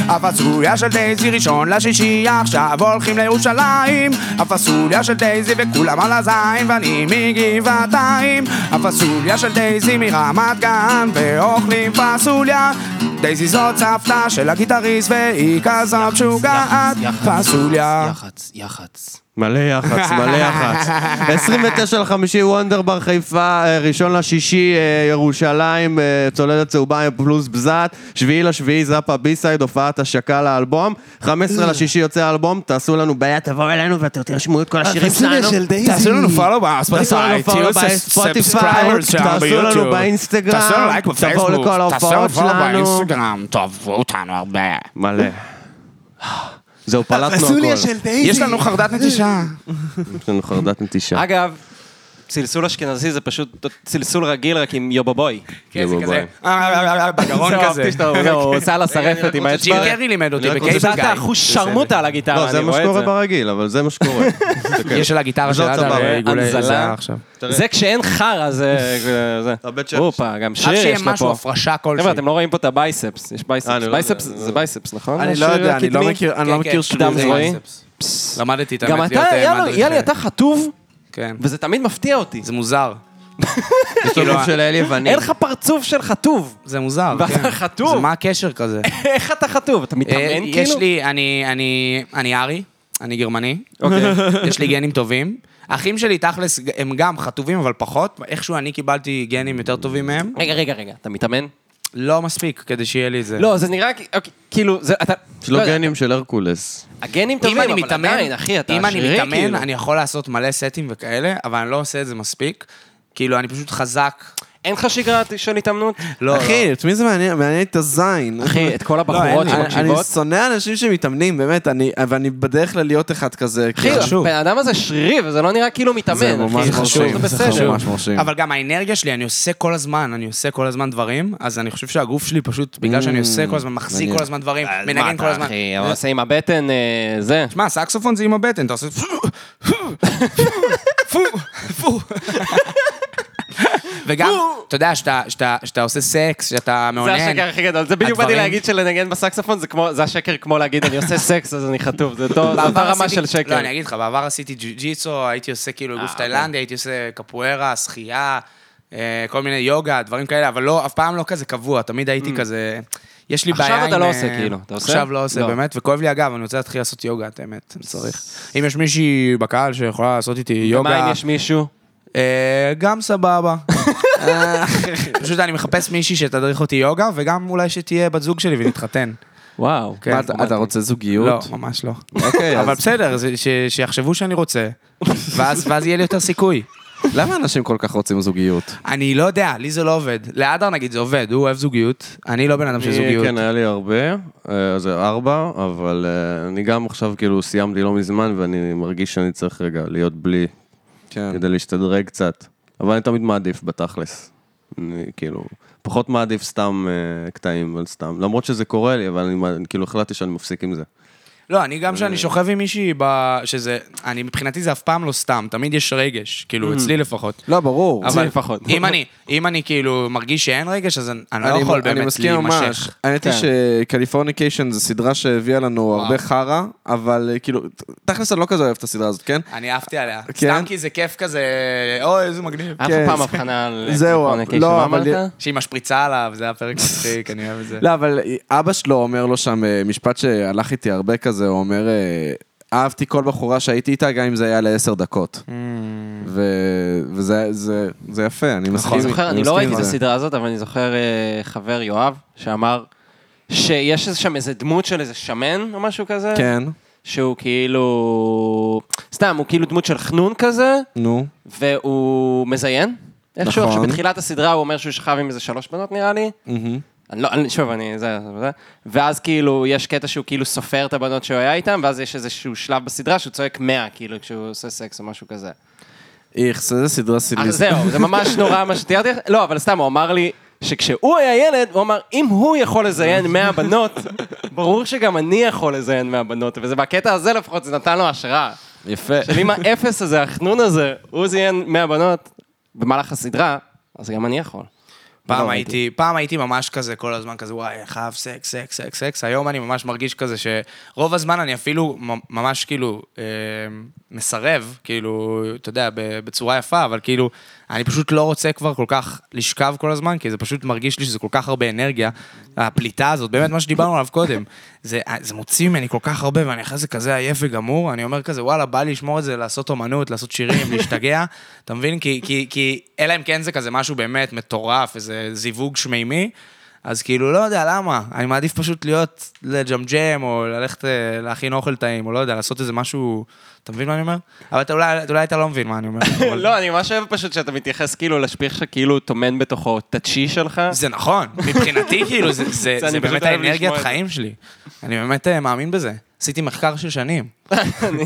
הפסוליה של דייזי ראשון לשישי עכשיו הולכים לירושלים הפסוליה של דייזי וכולם על הזין ואני מגבעתיים הפסוליה של דייזי מרמת גן ואוכלים פסוליה דייזי זאת סבתא של הגיטריסט והיא כזה משוגעת פסוליה
יח"צ, יח"צ.
מלא יח"צ, מלא יח"צ. 29 לחמישי, וונדר בר חיפה, אה, ראשון לשישי, אה, ירושלים, אה, צוללת צהובה עם פלוס בזעת, שביעי לשביעי, זאפה ביסייד, הופעת השקה לאלבום, 15 לשישי יוצא האלבום, תעשו לנו בעיה, תבואו אלינו ואתם תרשמו את כל השירים
הפסוליה
שלנו.
של דייזי.
תעשו לנו פולו
תעשו לנו
בספוטיפיי,
follow
תהיו
בספוטיפיי,
סאבסקרייברס שלנו
תעשו
ביוטיוב.
לנו באינסטגרם,
תעשו לנו לייק
תבואו
בפייסבוק,
לכל
תעשו לנו
ההופעות
פולו
שלנו.
באינסטגרם, תאהבו אותנו הרבה.
מלא.
[LAUGHS]
זהו, פלטנו הכל.
הפסוליה של דייזי.
יש לנו חרדת נטישה.
יש לנו חרדת נטישה.
אגב, צלצול אשכנזי זה פשוט צלצול רגיל רק עם יובובוי.
כן, זה
יבוא
כזה,
ביי.
אה, [LAUGHS] בגרון
זה
כזה.
אהבתי שאתה אומר, הוא עושה על השרפת עם האצבע.
ג'ים קרי לימד אותי
הוא עושה
בקייבל
את
גיא.
האחוז שרמוטה על
לא,
הגיטרה,
זה
אני
מה
רואה את
שקורה
זה.
ברגיל, אבל זה כן.
[LAUGHS]
מה שקורה. תסתכל.
יש על הגיטרה של
זאת
אדם, אה,
סבבה.
עיגולי
הנזלה.
זיעה עכשיו.
זה כשאין חרא,
[LAUGHS]
זה... זה-
הבית שפס.
הופה, גם שיר
רק שיהיה
יש לו
משהו,
פה.
הפרשה כלשהי.
חבר'ה, אתם לא רואים פה את הבייספס, יש
אה,
בייספס.
אני לא
בייספס
יודע,
זה בייספס, נכון?
אני
יש
לא
שיר
יודע, אני לא
קדמי?
מכיר, אני לא
כן, כן,
מכיר שילוב
קדם
זה
זרועי.
בייספס. למדתי את האמת.
גם אתה,
להיות, אה,
יאללה,
מדריך.
יאללה, אתה חטוב,
כן.
וזה תמיד מפתיע אותי.
זה [LAUGHS] מוזר.
כאילו
כאילו,
של אל יווני.
אין לך פרצוף של חטוב. [LAUGHS]
זה מוזר,
ואתה
כן.
חטוב.
[LAUGHS] זה מה הקשר כזה?
איך אתה חטוב? אתה מתאמן
אה,
כאילו?
יש לי, אני, אני, אני ארי, אני גרמני, [LAUGHS]
אוקיי.
יש לי גנים טובים. האחים שלי תכלס הם גם חטובים, אבל פחות. איכשהו אני קיבלתי גנים יותר טובים מהם.
רגע, רגע, רגע. אתה מתאמן?
לא מספיק כדי שיהיה לי את זה.
לא, זה נראה כ- אוקיי, כאילו, זה, אתה...
יש לו
לא יודע,
גנים של הרקולס.
הגנים
אם
טובים,
אני
אבל
מתאמן,
עדיין, אחי, אתה
אם אני
שרירי,
מתאמן,
כאילו.
אני יכול לעשות מלא סטים וכאלה, אבל אני לא עושה את זה מספיק. כאילו, אני פשוט חזק.
אין לך שגרה של התאמנות?
לא, לא.
אחי, את מי זה מעניין? מעניין את הזין.
אחי, את כל
לא,
הבחורות
אין לי- אני-
שמקשיבות.
אני שונא אנשים שמתאמנים, באמת, אני- ואני בדרך כלל להיות אחד כזה. כאילו.
אחי,
כי חשוב.
הבן אדם הזה שרירי, וזה לא נראה כאילו מתאמן.
זה
אחי,
ממש
זה
מרשים, זה
בסדר.
ממש מרשים.
אבל גם האנרגיה שלי, אני עושה כל הזמן, אני עושה כל הזמן דברים, אז אני חושב שהגוף שלי פשוט, בגלל שאני עושה כל הזמן, מחזיק
מעניין.
כל הזמן דברים,
Mm, אז מה
מנגן אה, כל
אתה,
הזמן.
אחי, אבל עושה עם הבטן, אה, זה.
שמע, סקסופון זה עם הבטן, אתה עושה... פו,
[LAUGHS]
פו. וגם, אתה יודע, שאתה- שאתה שאתה עושה סקס, שאתה
זה
מעונן.
השקר הכי גדול. זה בדיוק באתי
הדברים-
להגיד שלנגן בסקספון, זה כמו- זה השקר כמו להגיד, אני עושה סקס, אז אני חטוף. זה אותו זה אותה
בעבר
רמה
עשיתי-
של שקר.
לא, אני אגיד לך, בעבר עשיתי ג'ו-ג'יצו, הייתי עושה כאילו גוף תאילנדי, הייתי עושה קפוארה, שחייה, אה, כל מיני יוגה, דברים כאלה, אבל לא, אף פעם לא כזה קבוע, תמיד הייתי כזה... יש לי
עכשיו
בעיה עם...
אתה לא
אה,
עושה, כאילו. אתה עושה?
עכשיו לא עושה,
לא.
באמת, וכואב לי אגב, אני רוצה להתחיל לעשות יוגה, את האמת, אני
[LAUGHS]
צריך. אם יש מישהי בקהל שיכולה לעשות איתי יוגה...
מה אם יש מישהו?
אה, גם
[LAUGHS]
סבבה. אה, פשוט אני מחפש מישהי שתדריך אותי יוגה, וגם אולי שתהיה בת זוג שלי ונתחתן.
וואו.
כן,
מה, אתה- אתה רוצה
לא,
זוגיות?
ממש לא.
אוקיי,
אבל
אז
בסדר, זה- ש- שיחשבו שאני רוצה, ואז ואז יהיה לי יותר סיכוי.
למה אנשים כל כך רוצים זוגיות?
אני לא יודע, לי זה לא עובד. להדר נגיד זה עובד, הוא אוהב זוגיות, אני לא בן אדם של
אני-
זוגיות.
כן, היה לי הרבה, אה, זה ארבע, אבל אה, אני גם עכשיו כאילו סיימתי לא מזמן, ואני מרגיש שאני צריך רגע להיות בלי,
כן.
כדי להשתדרג קצת. אבל אני תמיד מעדיף בתכלס. אני כאילו, פחות מעדיף סתם אה, קטעים על סתם. למרות שזה קורה לי, אבל אני מע- כאילו החלטתי שאני מפסיק עם זה.
לא, אני גם כשאני שוכב עם מישהי, ב- שזה, אני מבחינתי זה אף פעם לא סתם, תמיד יש רגש, כאילו אצלי לפחות.
לא, ברור.
אבל
לפחות.
אם אני, אם אני כאילו מרגיש שאין רגש, אז אני אני לא
אני-
יכול
אני
באמת
מסכים ממש.
להימשך.
האמת היא
כן.
שקליפורניקיישן זו סדרה שהביאה לנו הרבה חרא, אבל אה, כאילו, ת- תכלס אני לא כזה אוהב את הסדרה הזאת, כן?
אני עפתי עליה.
כן?
סתם כי זה כיף כזה, אוי, איזה מגניב.
היה
כן.
לך פעם הבחנה על...
[LAUGHS] זהו,
Californication,
לא,
מה
אבל-
אמרת?
שהיא משפריצה עליו, זה היה פרק מצחיק, אני אוהב את זה.
כן.
לא, אבל אבא שלו אומר לו שם אה, משפט שהלך איתי הרבה כזה, הוא אומר, אה, אהבתי כל בחורה שהייתי איתה, גם אם זה היה לעשר דקות.
Mm.
ו- וזה זה- זה יפה, נכון, אני מסכים.
אני זוכר, אני לא
מסכים
ראיתי
עם
את
זה.
הסדרה הזאת, אבל אני זוכר אה, חבר יואב, שאמר שיש איזה שם איזה דמות של איזה שמן או משהו כזה,
כן,
שהוא כאילו... סתם, הוא כאילו דמות של חנון כזה,
נו.
והוא מזיין. איכשהו,
נכון.
עכשיו בתחילת הסדרה הוא אומר שהוא שכב עם איזה שלוש בנות נראה לי. אני לא, אני, שוב, אני, זה, זה, ואז כאילו, יש קטע שהוא כאילו סופר את הבנות שהוא היה איתן, ואז יש איזשהו שלב בסדרה שהוא צועק 100, כאילו, כשהוא עושה סקס או משהו כזה.
איכס, איזה סדרה
אז
סילביסטית.
אה, זהו, זה ממש נורא מה שתיארתי לך. לא, אבל סתם, הוא אמר לי שכשהוא היה ילד, הוא אמר, אם הוא יכול לזיין 100 בנות, ברור שגם אני יכול לזיין 100 בנות, וזה בקטע הזה לפחות, זה נתן לו השראה.
יפה.
של אם האפס הזה, החנון הזה, הוא זיין 100 בנות במהלך הסדרה, אז גם אני יכול.
פעם
לא
הייתי, פעם הייתי ממש כזה, כל הזמן כזה, וואי, אני חייב סקס, סקס, סקס, סקס. היום אני ממש מרגיש כזה שרוב הזמן אני אפילו מ- ממש כאילו אה, מסרב, כאילו, אתה יודע, ב- בצורה יפה, אבל כאילו, אני פשוט לא רוצה כבר כל כך לשכב כל הזמן, כי זה פשוט מרגיש לי שזה כל כך הרבה אנרגיה. הפליטה הזאת, באמת מה שדיברנו עליו קודם, זה, זה מוציא ממני כל כך הרבה, ואני אחרי זה כזה עייף וגמור, אני אומר כזה, וואלה, בא לי לשמור את זה, לעשות אומנות, לעשות שירים, [LAUGHS] להשתגע, אתה מבין? כי, כי, כי אלא אם כן זה כזה משהו באמת מטורף, איזה זיווג שמימי, אז כאילו, לא יודע למה, אני מעדיף פשוט להיות לג'מג'ם, או ללכת אה, להכין אוכל טעים, או לא יודע, לעשות איזה משהו, אתה מבין מה אני אומר? אבל אתה אולי, אולי אתה לא מבין מה אני אומר. אבל-
לא, אני ממש אוהב פשוט שאתה מתייחס כאילו לשפיך שכאילו טומן בתוכו תצ'י שלך.
זה נכון,
[LAUGHS]
מבחינתי, כאילו, זה, זה,
זה
זה,
אני פשוט
באמת
אוהב לשמוע
האנרגיית
את זה.
חיים שלי. אני באמת אה, מאמין בזה. עשיתי מחקר של שנים.
אני- אני-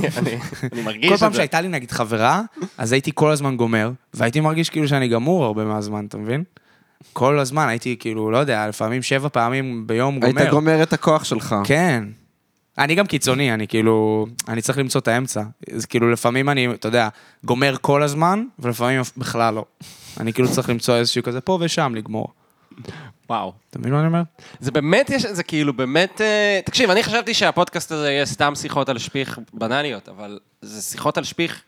אני מרגיש
כל
את זה.
פעם שהייתה לי נגיד חברה, אז הייתי כל הזמן גומר, והייתי מרגיש כאילו שאני גמור הרבה מהזמן, אתה מבין? כל הזמן הייתי כאילו, לא יודע, לפעמים שבע פעמים ביום גומר.
היית גומר את הכוח שלך.
כן. אני גם קיצוני, אני כאילו, אני צריך למצוא את האמצע. אז כאילו לפעמים אני, אתה יודע, גומר כל הזמן, ולפעמים אף- בכלל לא. אני כאילו צריך למצוא איזשהו כזה פה ושם לגמור.
וואו.
[LAUGHS] אתה מבין מה אני אומר?
זה באמת יש, זה כאילו באמת... אה, תקשיב, אני חשבתי שהפודקאסט הזה יהיה סתם שיחות על שפיך בנאליות, אבל זה שיחות על שפיך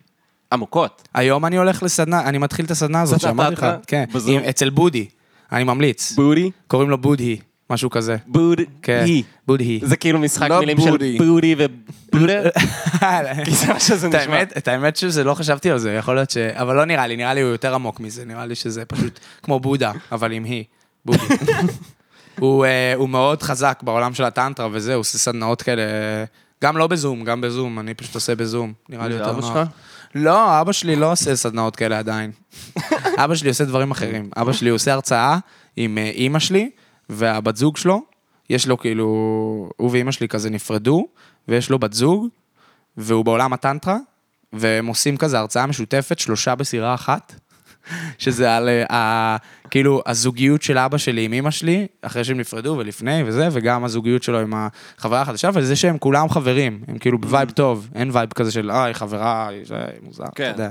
עמוקות.
היום אני הולך לסדנה, אני מתחיל את הסדנה הזאת
סדנת
שאמרתי לך.
ההתחלה?
כן,
בזום.
עם- אצל בודי, אני ממליץ.
בודי?
קוראים לו בודהי.
משהו כזה.
בוד
כן.
היא.
בודהי.
זה כאילו משחק
לא
מילים של
בודי.
בודי ובודה. [LAUGHS] כי
[LAUGHS]
זה מה שזה
את
נשמע. כן,
האמת, את האמת שזה לא חשבתי על זה, יכול להיות ש... אבל לא נראה לי, נראה לי הוא יותר עמוק מזה, נראה לי שזה פשוט כמו בודה, אבל עם היא,
[LAUGHS]
בודי. הוא, אה, הוא מאוד חזק בעולם של הטנטרה וזה, הוא עושה סדנאות כאלה, גם לא בזום, גם בזום, אני פשוט עושה בזום, נראה לי
זה
יותר
אבא
נוח.
שלך?
לא, אבא שלי לא עושה סדנאות
[LAUGHS]
כאלה עדיין. אבא שלי עושה דברים אחרים. אבא שלי עושה הרצאה עם אה, אימא שלי והבת זוג שלו. יש לו כאילו, הוא ואימא שלי כזה נפרדו, ויש לו בת זוג, והוא בעולם הטנטרה, והם עושים כזה הרצאה משותפת, שלושה בסירה אחת, [LAUGHS] שזה על אה, ה... כאילו, הזוגיות של אבא שלי עם אימא שלי, אחרי שהם נפרדו ולפני וזה, וגם הזוגיות שלו עם החברה החדשה, וזה שהם כולם חברים, הם כאילו בווייב טוב, אין וייב כזה של, אה, היא חברה, היא זה, היא מוזר,
כן.
אתה יודע.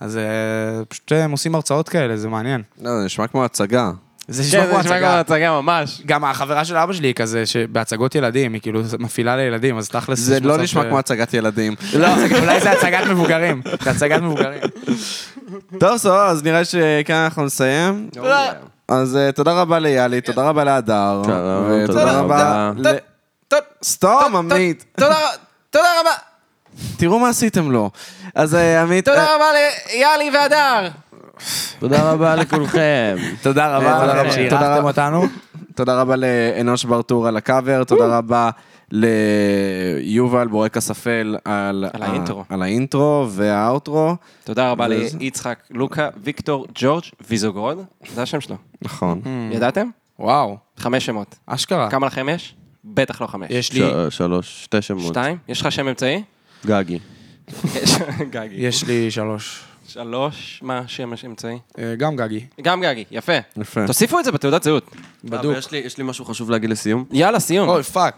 אז אה, פשוט הם עושים הרצאות כאלה, זה מעניין.
לא, זה נשמע כמו הצגה.
זה
כן, זה נשמע כמו הצגה ממש.
גם החברה של אבא שלי היא כזה, שבהצגות ילדים, היא כאילו מפעילה לילדים, אז תכלס...
זה
יש
לא
מצב
נשמע
ש-
כמו הצגת ילדים.
לא, אולי זה הצגת מבוגרים, זה הצגת מבוגרים.
טוב, סבבה, אז נראה שכאן אנחנו נסיים. אז אה, תודה רבה ליאלי, תודה רבה להדר.
תודה רבה,
ותודה
תודה
רבה.
רבה.
ל- [LAUGHS] סתום, עמית.
תודה רבה. תודה רבה.
תראו מה עשיתם לו. אז אה, עמית...
תודה רבה ליאלי והדר.
תודה רבה לכולכם.
תודה
אה, תודה
רבה לכם
רבה.
שאירחתם
תודה.
אותנו.
תודה רבה לאנוש ברטור על הקאבר, תודה רבה ליובל בורקס אפל על
על
ה-
האינטרו.
על האינטרו והאוטרו.
תודה רבה
וזה-
ליצחק, לוקה, ויקטור, ג'ורג' ויזוגרוד. זה השם שלו.
נכון.
ידעתם?
וואו,
חמש שמות.
אשכרה.
כמה לכם יש? בטח לא חמש.
אה. יש לי,
ש- [LAUGHS] שלוש, שתי שמות.
שתיים? יש לך שם אמצעי?
גגי.
יש, גגי.
יש לי שלוש.
שלוש, מה שם אמצעי?
אה, גם גגי.
גם גגי, יפה.
יפה.
תוסיפו את זה בתעודת זהות.
בדוק.
יש אה, לי- יש לי משהו חשוב להגיד לסיום.
יאללה, סיום.
אוי, פאק.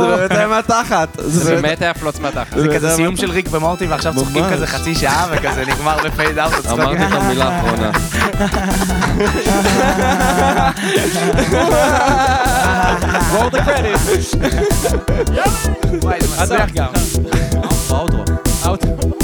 זה באמת היה מהתחת. זה
זה
באמת-
באמת היה פלוץ מהתחת.
זה כזה סיום של ריק ומורטי, ועכשיו צוחקים כזה חצי שעה, וכזה נגמר בפייד אאוט.
אמרתי את המילה האחרונה.
וואי, זה מצליח גם.
באוטרו.
אאוט.